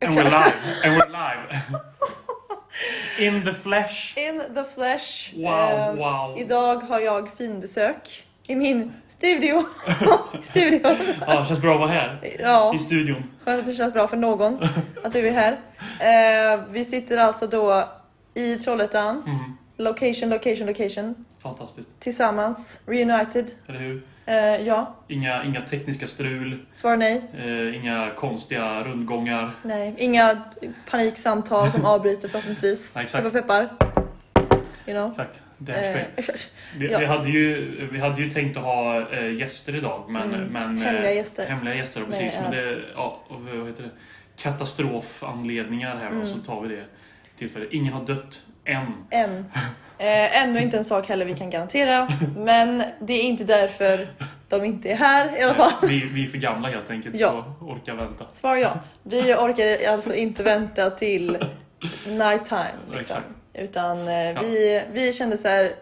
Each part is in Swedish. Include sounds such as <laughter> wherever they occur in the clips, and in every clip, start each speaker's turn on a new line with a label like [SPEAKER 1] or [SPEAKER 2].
[SPEAKER 1] And we're live. And
[SPEAKER 2] <laughs>
[SPEAKER 1] we're live. In the flesh.
[SPEAKER 2] In the flesh.
[SPEAKER 1] Wow,
[SPEAKER 2] Eh,
[SPEAKER 1] wow.
[SPEAKER 2] Idag har jag finbesök i min studio. <laughs> studio.
[SPEAKER 1] Ja, känns bra att vara här.
[SPEAKER 2] Ja,
[SPEAKER 1] I studion.
[SPEAKER 2] skönt att det känns bra för någon att du är här. Eh, vi sitter alltså då i Trollhättan.
[SPEAKER 1] Mm.
[SPEAKER 2] Location, location, location.
[SPEAKER 1] Fantastiskt.
[SPEAKER 2] Tillsammans. Reunited.
[SPEAKER 1] Eller hur?
[SPEAKER 2] Eh, ja.
[SPEAKER 1] Inga, inga tekniska strul.
[SPEAKER 2] Svar nej.
[SPEAKER 1] Eh, inga konstiga rundgångar.
[SPEAKER 2] Nej. Inga paniksamtal som avbryter förhoppningsvis.
[SPEAKER 1] Nej, exakt.
[SPEAKER 2] Peppar, peppar. You know.
[SPEAKER 1] Exakt. Det är
[SPEAKER 2] Eh,
[SPEAKER 1] spel. vi,
[SPEAKER 2] ja.
[SPEAKER 1] vi, hade ju, vi hade ju tänkt att ha eh, gäster idag. Men,
[SPEAKER 2] Mm.
[SPEAKER 1] men, eh,
[SPEAKER 2] Hemliga gäster.
[SPEAKER 1] Hemliga gäster, precis.
[SPEAKER 2] Nej,
[SPEAKER 1] men det, ja, och vad heter det? Katastrofanledningar här då,
[SPEAKER 2] Mm.
[SPEAKER 1] så tar vi det tillfället. Ingen har dött än.
[SPEAKER 2] Än. Eh, ännu inte en sak heller vi kan garantera. Men det är inte därför de inte är här i alla fall.
[SPEAKER 1] Vi, vi är för gamla helt enkelt
[SPEAKER 2] Ja.
[SPEAKER 1] och orkar vänta.
[SPEAKER 2] Svar ja. Vi orkar alltså inte vänta till night time. Liksom.
[SPEAKER 1] Exakt.
[SPEAKER 2] Utan eh, vi, vi kände så här.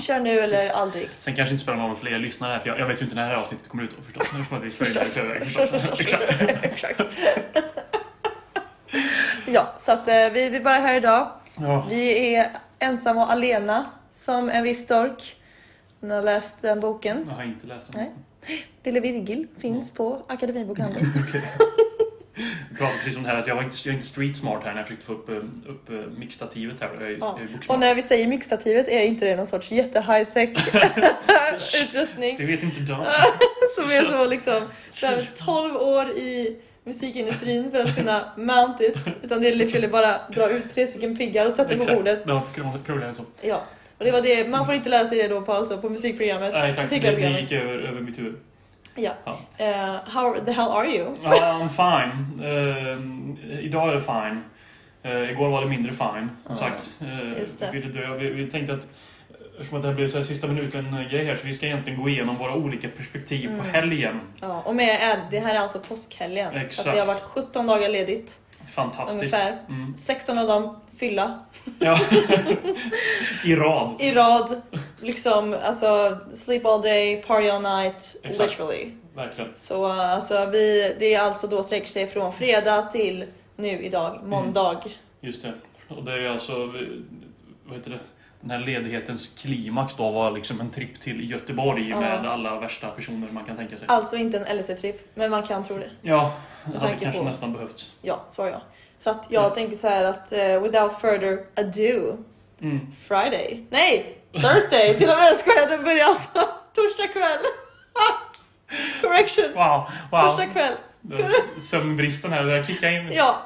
[SPEAKER 2] Kör nu eller aldrig.
[SPEAKER 1] Sen kanske inte spelar någon roll för er lyssnare här, för jag, jag vet ju inte när det här avsnittet kommer ut då, förstås. Nu får vi spoila det i förväg, förstås. Exakt.
[SPEAKER 2] <laughs> Exakt. ja, så att eh, vi, vi är bara här idag.
[SPEAKER 1] Ja,
[SPEAKER 2] Vi är ensamma och alena som en viss stork. Ni har läst den boken.
[SPEAKER 1] jag har inte läst den.
[SPEAKER 2] Nej. Lille Virgil finns på Akademibokhandeln.
[SPEAKER 1] Vi pratade precis om det här att jag var inte, jag är inte street smart här när jag försökte få upp, eh, upp eh, mixtativet här. Jag är,
[SPEAKER 2] Ja.
[SPEAKER 1] jag är boksmart.
[SPEAKER 2] Och när vi säger mixtativet är inte det någon sorts jätte high
[SPEAKER 1] <laughs>
[SPEAKER 2] tech utrustning
[SPEAKER 1] Det vet inte de.
[SPEAKER 2] som är så liksom där 12 år i musikindustrin för att kunna mount this utan det är literally bara dra ut tre stycken piggar och sätta på bordet.
[SPEAKER 1] Det var inte krångligt- krångligare än så.
[SPEAKER 2] Ja. Och det var det, man får inte lära sig det då på, alltså, på musikprogrammet.
[SPEAKER 1] Nej, exakt. Det, det
[SPEAKER 2] musiklärarprogrammet.
[SPEAKER 1] gick över, över mitt huvud.
[SPEAKER 2] Ja.
[SPEAKER 1] Ja.
[SPEAKER 2] Eh, how the hell are you?
[SPEAKER 1] I'm fine. Eh, idag är det fine. Eh, igår var det mindre fine, som
[SPEAKER 2] Ja,
[SPEAKER 1] sagt. Eh,
[SPEAKER 2] just det.
[SPEAKER 1] Vi, ville dö. vi, vi tänkte att eftersom att det här blev så här sista minuten-grej här så vi ska egentligen gå igenom våra olika perspektiv på
[SPEAKER 2] Mm.
[SPEAKER 1] helgen.
[SPEAKER 2] Ja, och med Ed, det här är alltså påskhelgen. Så
[SPEAKER 1] Exakt.
[SPEAKER 2] att det har varit 17 dagar ledigt
[SPEAKER 1] Fantastiskt.
[SPEAKER 2] ungefär.
[SPEAKER 1] Mm.
[SPEAKER 2] 16 av dem fylla
[SPEAKER 1] Ja. I rad.
[SPEAKER 2] i rad. Liksom, alltså, sleep all day, party all night,
[SPEAKER 1] Exakt.
[SPEAKER 2] literally.
[SPEAKER 1] Verkligen.
[SPEAKER 2] Så uh, alltså, vi, det är alltså då sträcker sig från fredag till nu idag,
[SPEAKER 1] Mm.
[SPEAKER 2] måndag.
[SPEAKER 1] Just det. Och det är alltså, eh, vad heter det? Den här ledighetens klimax då var liksom en tripp till Göteborg
[SPEAKER 2] Ja.
[SPEAKER 1] med alla värsta personer man kan tänka sig.
[SPEAKER 2] Alltså inte en LSD-tripp, men man kan tro det.
[SPEAKER 1] Ja, det hade
[SPEAKER 2] tanke
[SPEAKER 1] kanske
[SPEAKER 2] på-
[SPEAKER 1] nästan behövts.
[SPEAKER 2] Ja, svarar jag. Så att jag tänker så här att eh, without further ado,
[SPEAKER 1] Mm.
[SPEAKER 2] Friday. Nej! Thursday! Till och med skojar, den börjar alltså <laughs> torsdag kväll. Correction!
[SPEAKER 1] Wow, wow.
[SPEAKER 2] Torsdag kväll.
[SPEAKER 1] Sömnbristen Eh, här, jag kickar in.
[SPEAKER 2] Ja.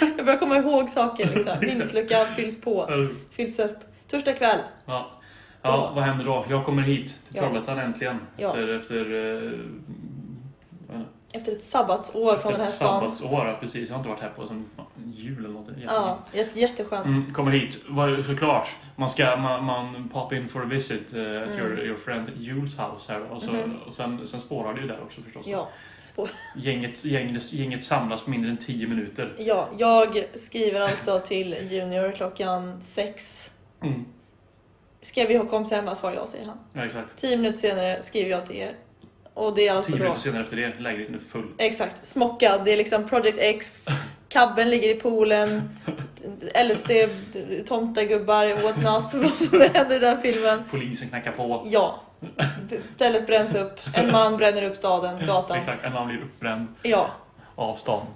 [SPEAKER 2] <laughs> Jag börjar komma ihåg saker liksom. Minnesluckan fylls på. Fylls upp. Torsdag kväll.
[SPEAKER 1] Ja. ja,
[SPEAKER 2] Då.
[SPEAKER 1] vad händer då? Jag kommer hit till
[SPEAKER 2] Ja.
[SPEAKER 1] Trollhättan äntligen.
[SPEAKER 2] Ja.
[SPEAKER 1] Efter, efter eh, vad är det?
[SPEAKER 2] Efter ett sabbatsår från den här
[SPEAKER 1] Ett
[SPEAKER 2] stan.
[SPEAKER 1] sabbatsår, ja, precis. Jag har inte varit här på sen fan, jul eller något.
[SPEAKER 2] Ja, jät- jätteskönt.
[SPEAKER 1] Mm, kommer hit, Vad- såklart. Man ska man, man pop in for a visit eh, at your, your friend Jules house här. Och, så,
[SPEAKER 2] Mm. Mhm.
[SPEAKER 1] och sen, sen spårar det ju där också förstås.
[SPEAKER 2] Ja, spår.
[SPEAKER 1] Gänget, gänget, gänget samlas på mindre än 10 minuter.
[SPEAKER 2] ja, jag skriver alltså till Junior klockan sex.
[SPEAKER 1] Mm.
[SPEAKER 2] Ska vi ha kompisar hemma? Svarar jag, säger han.
[SPEAKER 1] Ja, exakt.
[SPEAKER 2] Tio minuter senare skriver jag till er. Och det är alltså
[SPEAKER 1] 10
[SPEAKER 2] då...
[SPEAKER 1] minuter senare efter det, lägenheten är full.
[SPEAKER 2] Exakt, smockad. Det är liksom Project X, kabben ligger i poolen, LSD, tomtegubbar, what not, som också händer i den här filmen.
[SPEAKER 1] Polisen knackar på.
[SPEAKER 2] Ja, stället bränns upp, en man bränner upp staden, gatan.
[SPEAKER 1] Exakt, en man blir uppbränd
[SPEAKER 2] Ja,
[SPEAKER 1] av stan.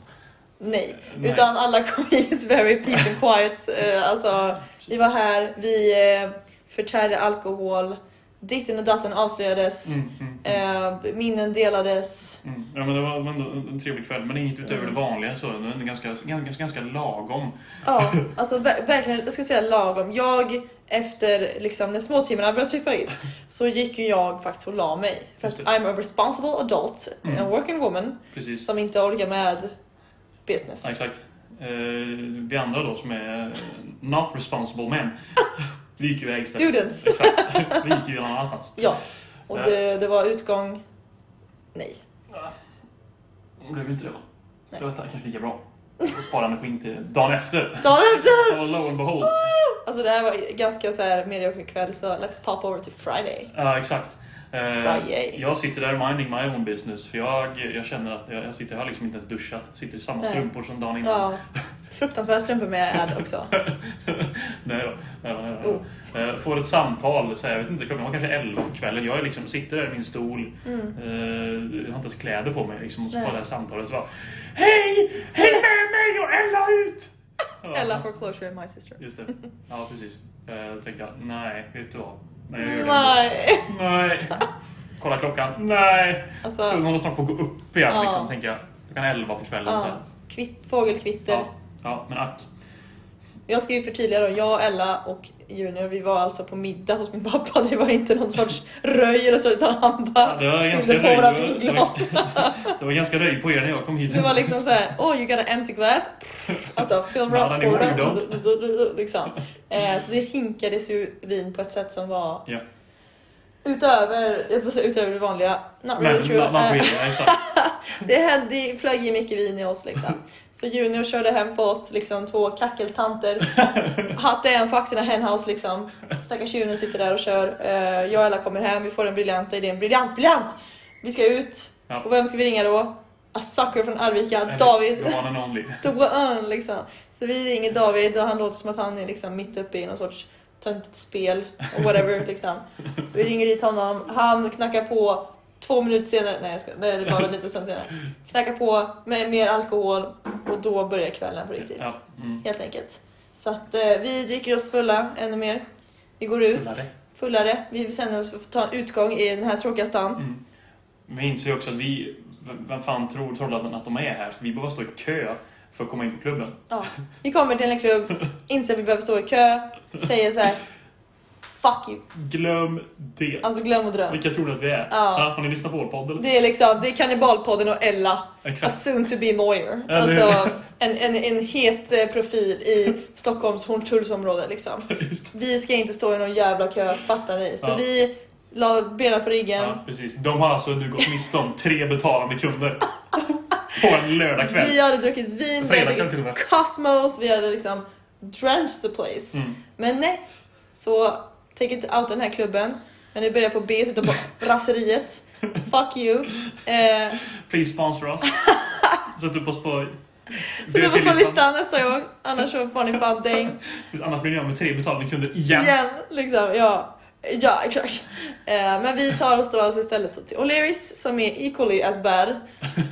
[SPEAKER 2] nej.
[SPEAKER 1] Nej.
[SPEAKER 2] Utan alla kom <laughs> hit very peace and quiet. Eh, Alltså, vi var här, vi eh, förtärde alkohol, ditten och datten avslöjades,
[SPEAKER 1] Mm, mm, mm,
[SPEAKER 2] eh, minnen delades.
[SPEAKER 1] mm. Ja, men det var ändå en trevlig kväll, men inget utöver
[SPEAKER 2] Mm.
[SPEAKER 1] det vanliga. Så. Det var ganska, ganska, ganska lagom. <laughs>
[SPEAKER 2] Ja, alltså ver- verkligen, jag skulle säga lagom. Jag, efter liksom, när småtimmarna började krypa in, så gick ju jag faktiskt och la mig. För att
[SPEAKER 1] Just det.
[SPEAKER 2] I'm a responsible adult,
[SPEAKER 1] Mm.
[SPEAKER 2] a working woman,
[SPEAKER 1] Precis.
[SPEAKER 2] som inte orkar med business.
[SPEAKER 1] Ja, exakt. Eh, vi andra då som är eh, not responsible men. Vi gick ju iväg istället.
[SPEAKER 2] Students!
[SPEAKER 1] Exakt. Vi gick ju någon annanstans.
[SPEAKER 2] Ja, och
[SPEAKER 1] Nej.
[SPEAKER 2] det, det var utgång... Nej.
[SPEAKER 1] Det blev ju inte det va?
[SPEAKER 2] Nej.
[SPEAKER 1] Det var kanske lika bra. Och spara energin till dagen efter.
[SPEAKER 2] Dagen efter!
[SPEAKER 1] Och lo and behold.
[SPEAKER 2] Alltså det här var ganska så här medioker kväll, så let's pop over to Friday.
[SPEAKER 1] Ja, exakt. Eh,
[SPEAKER 2] Frajej.
[SPEAKER 1] jag sitter där minding my own business för jag, jag känner att jag, jag sitter, jag har liksom inte ens duschat. Sitter i samma
[SPEAKER 2] Nej.
[SPEAKER 1] strumpor som dagen innan.
[SPEAKER 2] Ja. Fruktansvärda strumpor med ad också.
[SPEAKER 1] Nej då. Nej, då, nej, då.
[SPEAKER 2] Oh.
[SPEAKER 1] Eh, Får ett samtal, så här, jag vet inte, klockan var kanske 11 på kvällen. Jag är liksom, sitter där i min stol,
[SPEAKER 2] Mm.
[SPEAKER 1] eh, jag har inte ens kläder på mig. Liksom, och så
[SPEAKER 2] Nej.
[SPEAKER 1] får jag det här samtalet. Bara, Hej! Häng med mig! Jag Ella ut! <laughs> Ja,
[SPEAKER 2] Ella foreclosure and my sister.
[SPEAKER 1] Just det. Ja, precis. Eh, tänkte jag, nej, vet du vad? Nej, jag gör det inte.
[SPEAKER 2] Nej.
[SPEAKER 1] Nej. Kolla klockan. Nej.
[SPEAKER 2] Alltså-
[SPEAKER 1] så man måste snart på gå upp igen,
[SPEAKER 2] Ja.
[SPEAKER 1] liksom, tänker jag. Klockan 11 på kvällen. Så här.
[SPEAKER 2] Ja. Kvitt, fågelkvitter.
[SPEAKER 1] liksom. Ja. ja, men ack.
[SPEAKER 2] Jag ska ju förtydliga då, jag, Ella och Junior, vi var alltså på middag hos min pappa. Det var inte någon sorts röj eller så, utan han bara
[SPEAKER 1] Det var ganska
[SPEAKER 2] fyllde på
[SPEAKER 1] röj.
[SPEAKER 2] våra
[SPEAKER 1] Det var,
[SPEAKER 2] vinglas.
[SPEAKER 1] det var ganska röj på er när jag kom hit.
[SPEAKER 2] Det var liksom såhär, oh you got an empty glass. Alltså fill
[SPEAKER 1] Not
[SPEAKER 2] up
[SPEAKER 1] anymore,
[SPEAKER 2] order.
[SPEAKER 1] you
[SPEAKER 2] Liksom. Eh, så det hinkades ju vin på ett sätt som var
[SPEAKER 1] Ja.
[SPEAKER 2] utöver, jag får säga, utöver det vanliga. Not
[SPEAKER 1] Men
[SPEAKER 2] really true.
[SPEAKER 1] man, man får
[SPEAKER 2] Eh,
[SPEAKER 1] gilla det. exakt.
[SPEAKER 2] <laughs> det, hände, det flög i mycket vin i oss liksom. Så Junior körde hem på oss, liksom, två kackeltanter. Hatte en på axeln och henhouse liksom. Stackars Junior sitter där och kör. Eh, jag och alla kommer hem, vi får den briljanta idén. Briljant, briljant! Vi ska ut.
[SPEAKER 1] Ja.
[SPEAKER 2] Och vem ska vi ringa då? A sucker från Arvika,
[SPEAKER 1] Eller,
[SPEAKER 2] David.
[SPEAKER 1] The one and only.
[SPEAKER 2] Stora ön liksom. Så vi ringer David och han låter som att han är liksom mitt uppe i någon sorts töntigt spel och whatever liksom. Vi ringer dit honom, han knackar på två minuter senare, nej jag ska, nej det var väl lite sen senare. Knackar på med mer alkohol och då börjar kvällen på riktigt.
[SPEAKER 1] Ja, mm.
[SPEAKER 2] Helt enkelt. Så att eh, vi dricker oss fulla ännu mer. Vi går ut,
[SPEAKER 1] Fullare.
[SPEAKER 2] fullare. Vi bestämmer oss för att ta en utgång i den här tråkiga stan.
[SPEAKER 1] Mm. Vi inser ju också att vi, v- vem fan tror Trollhättan att de är här? Så vi behöver stå i kö för att komma in på klubben.
[SPEAKER 2] Ja. Vi kommer till en klubb, inser att vi behöver stå i kö, säger så här. Fuck you.
[SPEAKER 1] Glöm det.
[SPEAKER 2] Alltså glöm och dröm.
[SPEAKER 1] Vilka tror ni att vi är?
[SPEAKER 2] Ja.
[SPEAKER 1] Har ni lyssnat på vår podd eller?
[SPEAKER 2] Det är liksom, det är Kannibalpodden och Ella. A
[SPEAKER 1] Exakt.
[SPEAKER 2] soon to be lawyer.
[SPEAKER 1] Eller
[SPEAKER 2] Alltså en, en, en het eh, profil i Stockholms Horntullsområde liksom.
[SPEAKER 1] Just.
[SPEAKER 2] Vi ska inte stå i någon jävla kö, fattar ni? Så
[SPEAKER 1] Ja.
[SPEAKER 2] vi la benen på ryggen.
[SPEAKER 1] Ja, precis. De har alltså nu gått miste om tre betalande
[SPEAKER 2] <laughs>
[SPEAKER 1] kunder. På en lördagkväll.
[SPEAKER 2] Vi hade druckit vin, vi
[SPEAKER 1] Fredag
[SPEAKER 2] hade
[SPEAKER 1] kväll till
[SPEAKER 2] druckit
[SPEAKER 1] och med.
[SPEAKER 2] Cosmos, vi hade liksom drenched the place.
[SPEAKER 1] Mm.
[SPEAKER 2] Men nej, så take it out den här klubben. Men nu börjar på B, utan
[SPEAKER 1] <laughs>
[SPEAKER 2] på raseriet. Fuck you. Eh,
[SPEAKER 1] Please sponsor
[SPEAKER 2] <laughs>
[SPEAKER 1] us. Sätt upp oss på...
[SPEAKER 2] Så det var på
[SPEAKER 1] BT-listan.
[SPEAKER 2] listan nästa gång, annars så får ni fan däng
[SPEAKER 1] Precis, Annars blir ni av med tre betalande kunder igen.
[SPEAKER 2] igen. Liksom. Ja. ja, exakt. Eh, men vi tar oss då alltså istället till O'Learys som är equally as bad.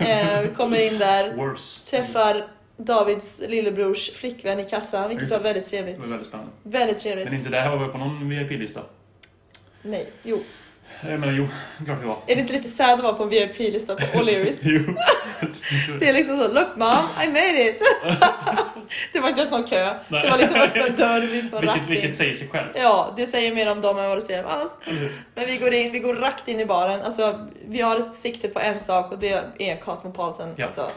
[SPEAKER 2] Eh, vi kommer in där,
[SPEAKER 1] Worse.
[SPEAKER 2] träffar Davids lillebrors flickvän i kassan, vilket var väldigt
[SPEAKER 1] Det
[SPEAKER 2] trevligt.
[SPEAKER 1] var väldigt spännande.
[SPEAKER 2] Väldigt
[SPEAKER 1] Men
[SPEAKER 2] trevligt.
[SPEAKER 1] inte där var vi på någon VIP-lista.
[SPEAKER 2] Nej, jo.
[SPEAKER 1] Jag menar, jo, klart vi var.
[SPEAKER 2] Är det inte lite sad att vara på en VIP-lista på O'Learys?
[SPEAKER 1] Jo.
[SPEAKER 2] Det är liksom så, look mom, I made it! <laughs> det var inte ens någon kö, <laughs> det var liksom öppen dörr, vi bara rakt
[SPEAKER 1] vilket,
[SPEAKER 2] in.
[SPEAKER 1] vilket säger sig själv.
[SPEAKER 2] Ja, det säger mer om dem än vad det säger om oss. Men vi går in, vi går rakt in i baren. Alltså, vi har sikte på en sak och det är Cosmopolitan.
[SPEAKER 1] Ja.
[SPEAKER 2] Alltså,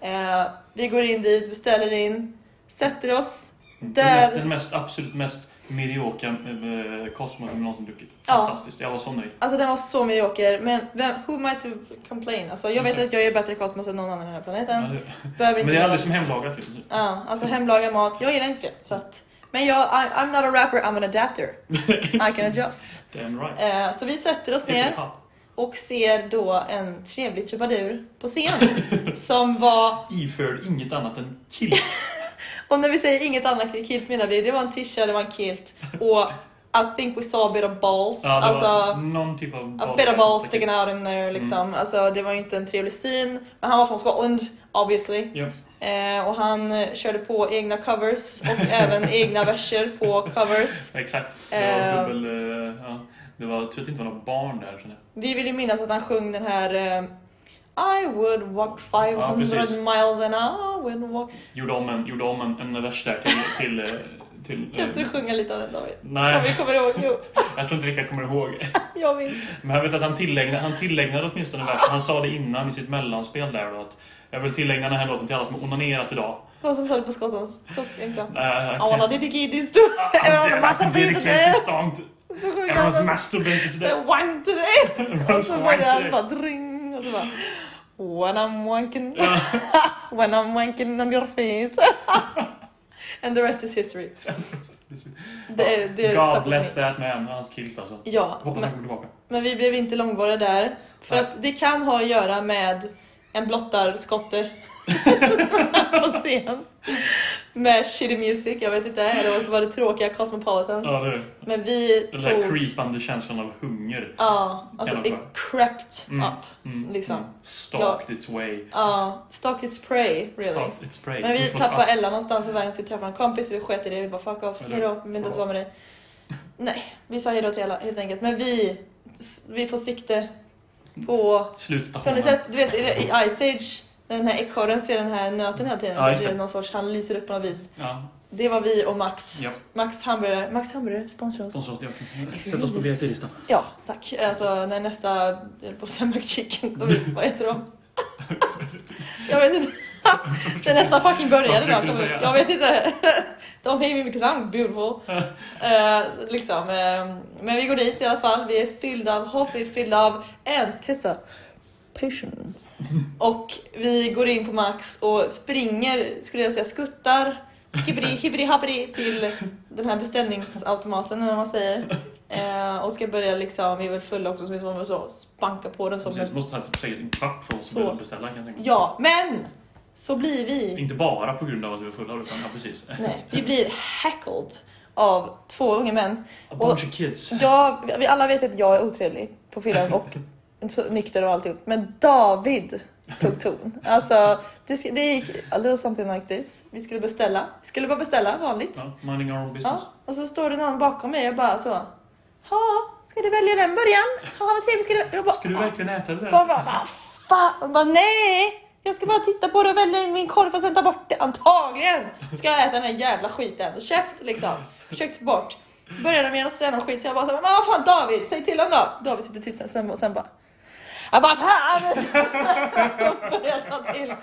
[SPEAKER 2] eh, vi går in dit, beställer in, sätter oss.
[SPEAKER 1] Mm. Den,
[SPEAKER 2] Där.
[SPEAKER 1] mest, den mest, absolut mest mediokra eh, Cosmo jag någonsin druckit.
[SPEAKER 2] Ja.
[SPEAKER 1] Fantastiskt. Jag var så nöjd.
[SPEAKER 2] Alltså den var så medioker, men vem, who am I to complain? Alltså, jag vet att jag är bättre i Cosmos än någon annan i den här planeten.
[SPEAKER 1] Mm. Ja, det-
[SPEAKER 2] Behöver
[SPEAKER 1] Men
[SPEAKER 2] inte
[SPEAKER 1] det är
[SPEAKER 2] vara-
[SPEAKER 1] alldeles som hemlagat. ju.
[SPEAKER 2] Ja, alltså hemlagad mat. Jag gillar inte det. Så att, men jag, I, I'm not a rapper, I'm an adapter. I can adjust.
[SPEAKER 1] <laughs> Damn right.
[SPEAKER 2] Eh, så vi sätter oss ner. och ser då en trevlig trubadur på scen
[SPEAKER 1] <laughs>
[SPEAKER 2] som var,
[SPEAKER 1] Iförd inget annat än kilt.
[SPEAKER 2] och när vi säger inget annat än kilt menar vi det var en tisha, det var en kilt och I think we saw a bit of balls,
[SPEAKER 1] Ja, det
[SPEAKER 2] alltså
[SPEAKER 1] var någon typ av
[SPEAKER 2] a
[SPEAKER 1] bal-
[SPEAKER 2] bit of balls sticking out in
[SPEAKER 1] Mm.
[SPEAKER 2] there liksom. Alltså det var ju inte en trevlig syn, men han var från Skottland obviously.
[SPEAKER 1] Ja.
[SPEAKER 2] Eh, och han eh, körde på egna covers
[SPEAKER 1] <laughs>
[SPEAKER 2] och även egna verser på covers.
[SPEAKER 1] Exakt. Det
[SPEAKER 2] Eh.
[SPEAKER 1] var dubbel... eh, Ja. Det var tur att det inte var några barn där. känner
[SPEAKER 2] Vi vill ju minnas att han sjöng den här eh, I would walk 500
[SPEAKER 1] precis.
[SPEAKER 2] miles and I would walk...
[SPEAKER 1] jag. Gjorde om en, gjorde om en, en vers där till... till, eh, till
[SPEAKER 2] Kan inte du
[SPEAKER 1] eh,
[SPEAKER 2] sjunga lite av den David? Om vi
[SPEAKER 1] Nej,
[SPEAKER 2] kommer ihåg. Jo,
[SPEAKER 1] jag tror inte riktigt jag kommer ihåg.
[SPEAKER 2] jag minns.
[SPEAKER 1] Men jag vet att han tillägnade, han tillägnade åtminstone versen. Han sa det innan i sitt mellanspel där då att jag vill tillägna den här låten till alla som har onanerat idag.
[SPEAKER 2] Vad som sa det på skottans skottskräng så.
[SPEAKER 1] Eh,
[SPEAKER 2] I wanna
[SPEAKER 1] okay.
[SPEAKER 2] dedicate this to everyone
[SPEAKER 1] I can
[SPEAKER 2] masturbate
[SPEAKER 1] dedicate
[SPEAKER 2] today.
[SPEAKER 1] this song to
[SPEAKER 2] Så sjunger
[SPEAKER 1] everyone's
[SPEAKER 2] han
[SPEAKER 1] masturbated today.
[SPEAKER 2] den. Wank today. Och
[SPEAKER 1] Everyone's
[SPEAKER 2] så börjar han
[SPEAKER 1] wank
[SPEAKER 2] bara dring. Och så bara. When I'm wanking. <laughs>
[SPEAKER 1] today.
[SPEAKER 2] When I'm wanking on your face. <laughs> And the rest is history. Det, det
[SPEAKER 1] God
[SPEAKER 2] stoppar
[SPEAKER 1] bless
[SPEAKER 2] mig.
[SPEAKER 1] that man, hans kilt alltså.
[SPEAKER 2] Ja,
[SPEAKER 1] Hoppas han
[SPEAKER 2] men,
[SPEAKER 1] kommer tillbaka.
[SPEAKER 2] men vi blev inte långvariga där. För
[SPEAKER 1] Nej.
[SPEAKER 2] att det kan ha att göra med en
[SPEAKER 1] <laughs>
[SPEAKER 2] blottarskotte <laughs> på scen. Med shitty music, jag vet inte. Eller så var det tråkiga Cosmopolitans.
[SPEAKER 1] Ja, det är det.
[SPEAKER 2] Men vi
[SPEAKER 1] Den där
[SPEAKER 2] tog...
[SPEAKER 1] creepande känslan av hunger.
[SPEAKER 2] Ja, alltså
[SPEAKER 1] Kallar
[SPEAKER 2] it
[SPEAKER 1] det.
[SPEAKER 2] crept
[SPEAKER 1] Mm.
[SPEAKER 2] up.
[SPEAKER 1] Mm.
[SPEAKER 2] Liksom.
[SPEAKER 1] Mm. Stalked its way.
[SPEAKER 2] Ja, stalk its prey really.
[SPEAKER 1] Stalked its prey.
[SPEAKER 2] Men vi
[SPEAKER 1] It was
[SPEAKER 2] tappade
[SPEAKER 1] us.
[SPEAKER 2] Ella någonstans på vägen, skulle träffa en kompis, så vi sket i det. Vi bara fuck off,
[SPEAKER 1] Eller-
[SPEAKER 2] hejdå, vi vill inte ens vara med dig. Nej, vi sa hejdå till Ella helt enkelt. Men vi, vi får sikte på... Har ni
[SPEAKER 1] Slutstationen.
[SPEAKER 2] sett, du vet i i Ice Age, när den här ekorren ser den här nöten hela tiden,
[SPEAKER 1] Ja,
[SPEAKER 2] så
[SPEAKER 1] just
[SPEAKER 2] blir det
[SPEAKER 1] det.
[SPEAKER 2] någon sorts, han lyser upp på något vis.
[SPEAKER 1] Ja,
[SPEAKER 2] Det var vi och Max.
[SPEAKER 1] Ja.
[SPEAKER 2] Max hamburgare, Max hamburgare, sponsra oss.
[SPEAKER 1] sponsra oss. Jag kan- Sätt oss på VIP-listan.
[SPEAKER 2] Ja, tack. Alltså när nästa, jag höll på att säga McChicken kommer ut, vad heter
[SPEAKER 1] <laughs>
[SPEAKER 2] de? jag vet inte. när nästa fucking började
[SPEAKER 1] Vad
[SPEAKER 2] då.
[SPEAKER 1] tänkte du
[SPEAKER 2] Kommer, ut.
[SPEAKER 1] säga?
[SPEAKER 2] jag vet inte. de hate me because I'm beautiful. Eh, liksom. eh, men vi går dit i alla fall. Vi är fyllda av hopp, vi är fyllda av anticipation. Och vi går in på Max och springer, skulle jag säga skuttar, skibbidi hibbidi habbidi till den här beställningsautomaten eller vad man säger. Eh, och ska börja liksom, vi är väl fulla också så vi måste så spanka på den som
[SPEAKER 1] Precis, måste ha typ säkert en kvart från oss
[SPEAKER 2] Så.
[SPEAKER 1] att beställa kan jag tänka mig.
[SPEAKER 2] Ja, men! Så blir vi,
[SPEAKER 1] Inte bara på grund av att vi var fulla utan ja, precis.
[SPEAKER 2] nej, vi blir hackled av två unga män.
[SPEAKER 1] A bunch of kids.
[SPEAKER 2] Jag, vi alla vet att jag är otrevlig på fyllan och <laughs> så nykter och alltihop. Men David tog ton. Alltså, det, sk- det gick a little something like this. Vi skulle beställa. Vi skulle bara beställa vanligt.
[SPEAKER 1] Ja, minding our own
[SPEAKER 2] Ja,
[SPEAKER 1] business.
[SPEAKER 2] och så står det någon bakom mig och bara så. Ha, ska du välja den början? Ha, vad trevligt. Ska du... Jag bara, "Ah."
[SPEAKER 1] Ska du verkligen äta det
[SPEAKER 2] bara,
[SPEAKER 1] där?
[SPEAKER 2] bara, vad fan? Jag bara, nej! Jag ska bara titta på det och välja min korv och sen ta bort det. Antagligen ska jag äta den här jävla skiten. Och käft liksom. Försökte få bort. Började med att säga någon skit så jag bara såhär, vad fan David, säg till honom då. David sitter tyst sen och sen bara. Jag bara fan! <laughs> Och började ta till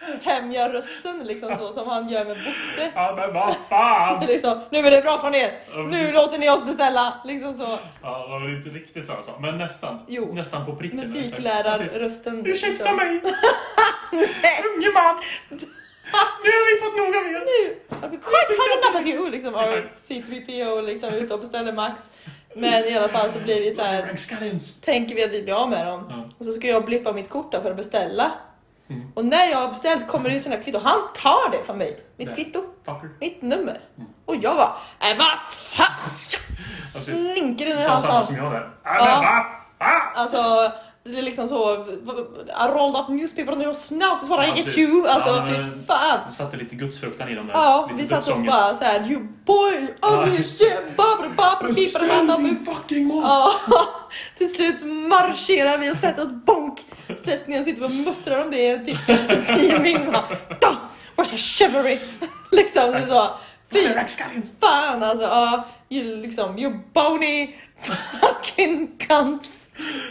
[SPEAKER 2] hundtämjarrösten liksom så som han gör med Bosse.
[SPEAKER 1] Ja men vad fan!
[SPEAKER 2] Liksom, nu är det bra från er!
[SPEAKER 1] Ja, precis.
[SPEAKER 2] Nu låter ni oss beställa! Liksom så.
[SPEAKER 1] Ja, det var väl inte riktigt så jag sa, men nästan.
[SPEAKER 2] Jo.
[SPEAKER 1] Nästan på pricken. Precis.
[SPEAKER 2] Musiklärarrösten.
[SPEAKER 1] Ursäkta
[SPEAKER 2] liksom. <laughs>
[SPEAKER 1] mig! Unge man! Nu har vi fått nog av er!
[SPEAKER 2] nu! I've quite had enough of you! Liksom, och C3PO liksom ute och beställer Max. Men i alla fall så blir vi så här,
[SPEAKER 1] Rankskallens!
[SPEAKER 2] tänker vi att vi blir av med dem.
[SPEAKER 1] Ja.
[SPEAKER 2] Och så ska jag blippa mitt kort då för att beställa.
[SPEAKER 1] Mm.
[SPEAKER 2] Och när jag har beställt kommer det ut sådana här kvitto. Han tar det från mig. Mitt
[SPEAKER 1] Nej.
[SPEAKER 2] kvitto.
[SPEAKER 1] Fucker.
[SPEAKER 2] Mitt nummer.
[SPEAKER 1] Mm. Alltså,
[SPEAKER 2] Och jag bara, äh vad fan! Slinker den i
[SPEAKER 1] Sa
[SPEAKER 2] hans
[SPEAKER 1] samma
[SPEAKER 2] hand.
[SPEAKER 1] som jag där. Ja
[SPEAKER 2] alltså. Ja.
[SPEAKER 1] men vad fan!
[SPEAKER 2] Alltså, det är liksom så, I rolled up newspaper and your snout is what
[SPEAKER 1] Ja,
[SPEAKER 2] I get
[SPEAKER 1] precis.
[SPEAKER 2] you. Alltså,
[SPEAKER 1] Ja, men-
[SPEAKER 2] fy fan.
[SPEAKER 1] Jag satte lite gudsfruktan i dem där.
[SPEAKER 2] Ja,
[SPEAKER 1] lite
[SPEAKER 2] vi satt och
[SPEAKER 1] dödsångest.
[SPEAKER 2] bara såhär You boy,
[SPEAKER 1] Ja.
[SPEAKER 2] ugly shit, babra babra bipra babra
[SPEAKER 1] Beställ din fucking mat!
[SPEAKER 2] Ja, <laughs> till slut marscherar vi och sätter oss bonk. Sätter ner och sitter och muttrar om det i typ kanske tio min. bara, "Da, Where's your chivalry? <laughs> Liksom det är så. Fy
[SPEAKER 1] Rankskallens!
[SPEAKER 2] fan alltså. Ja, you, liksom, you bony <laughs> fucking cunts.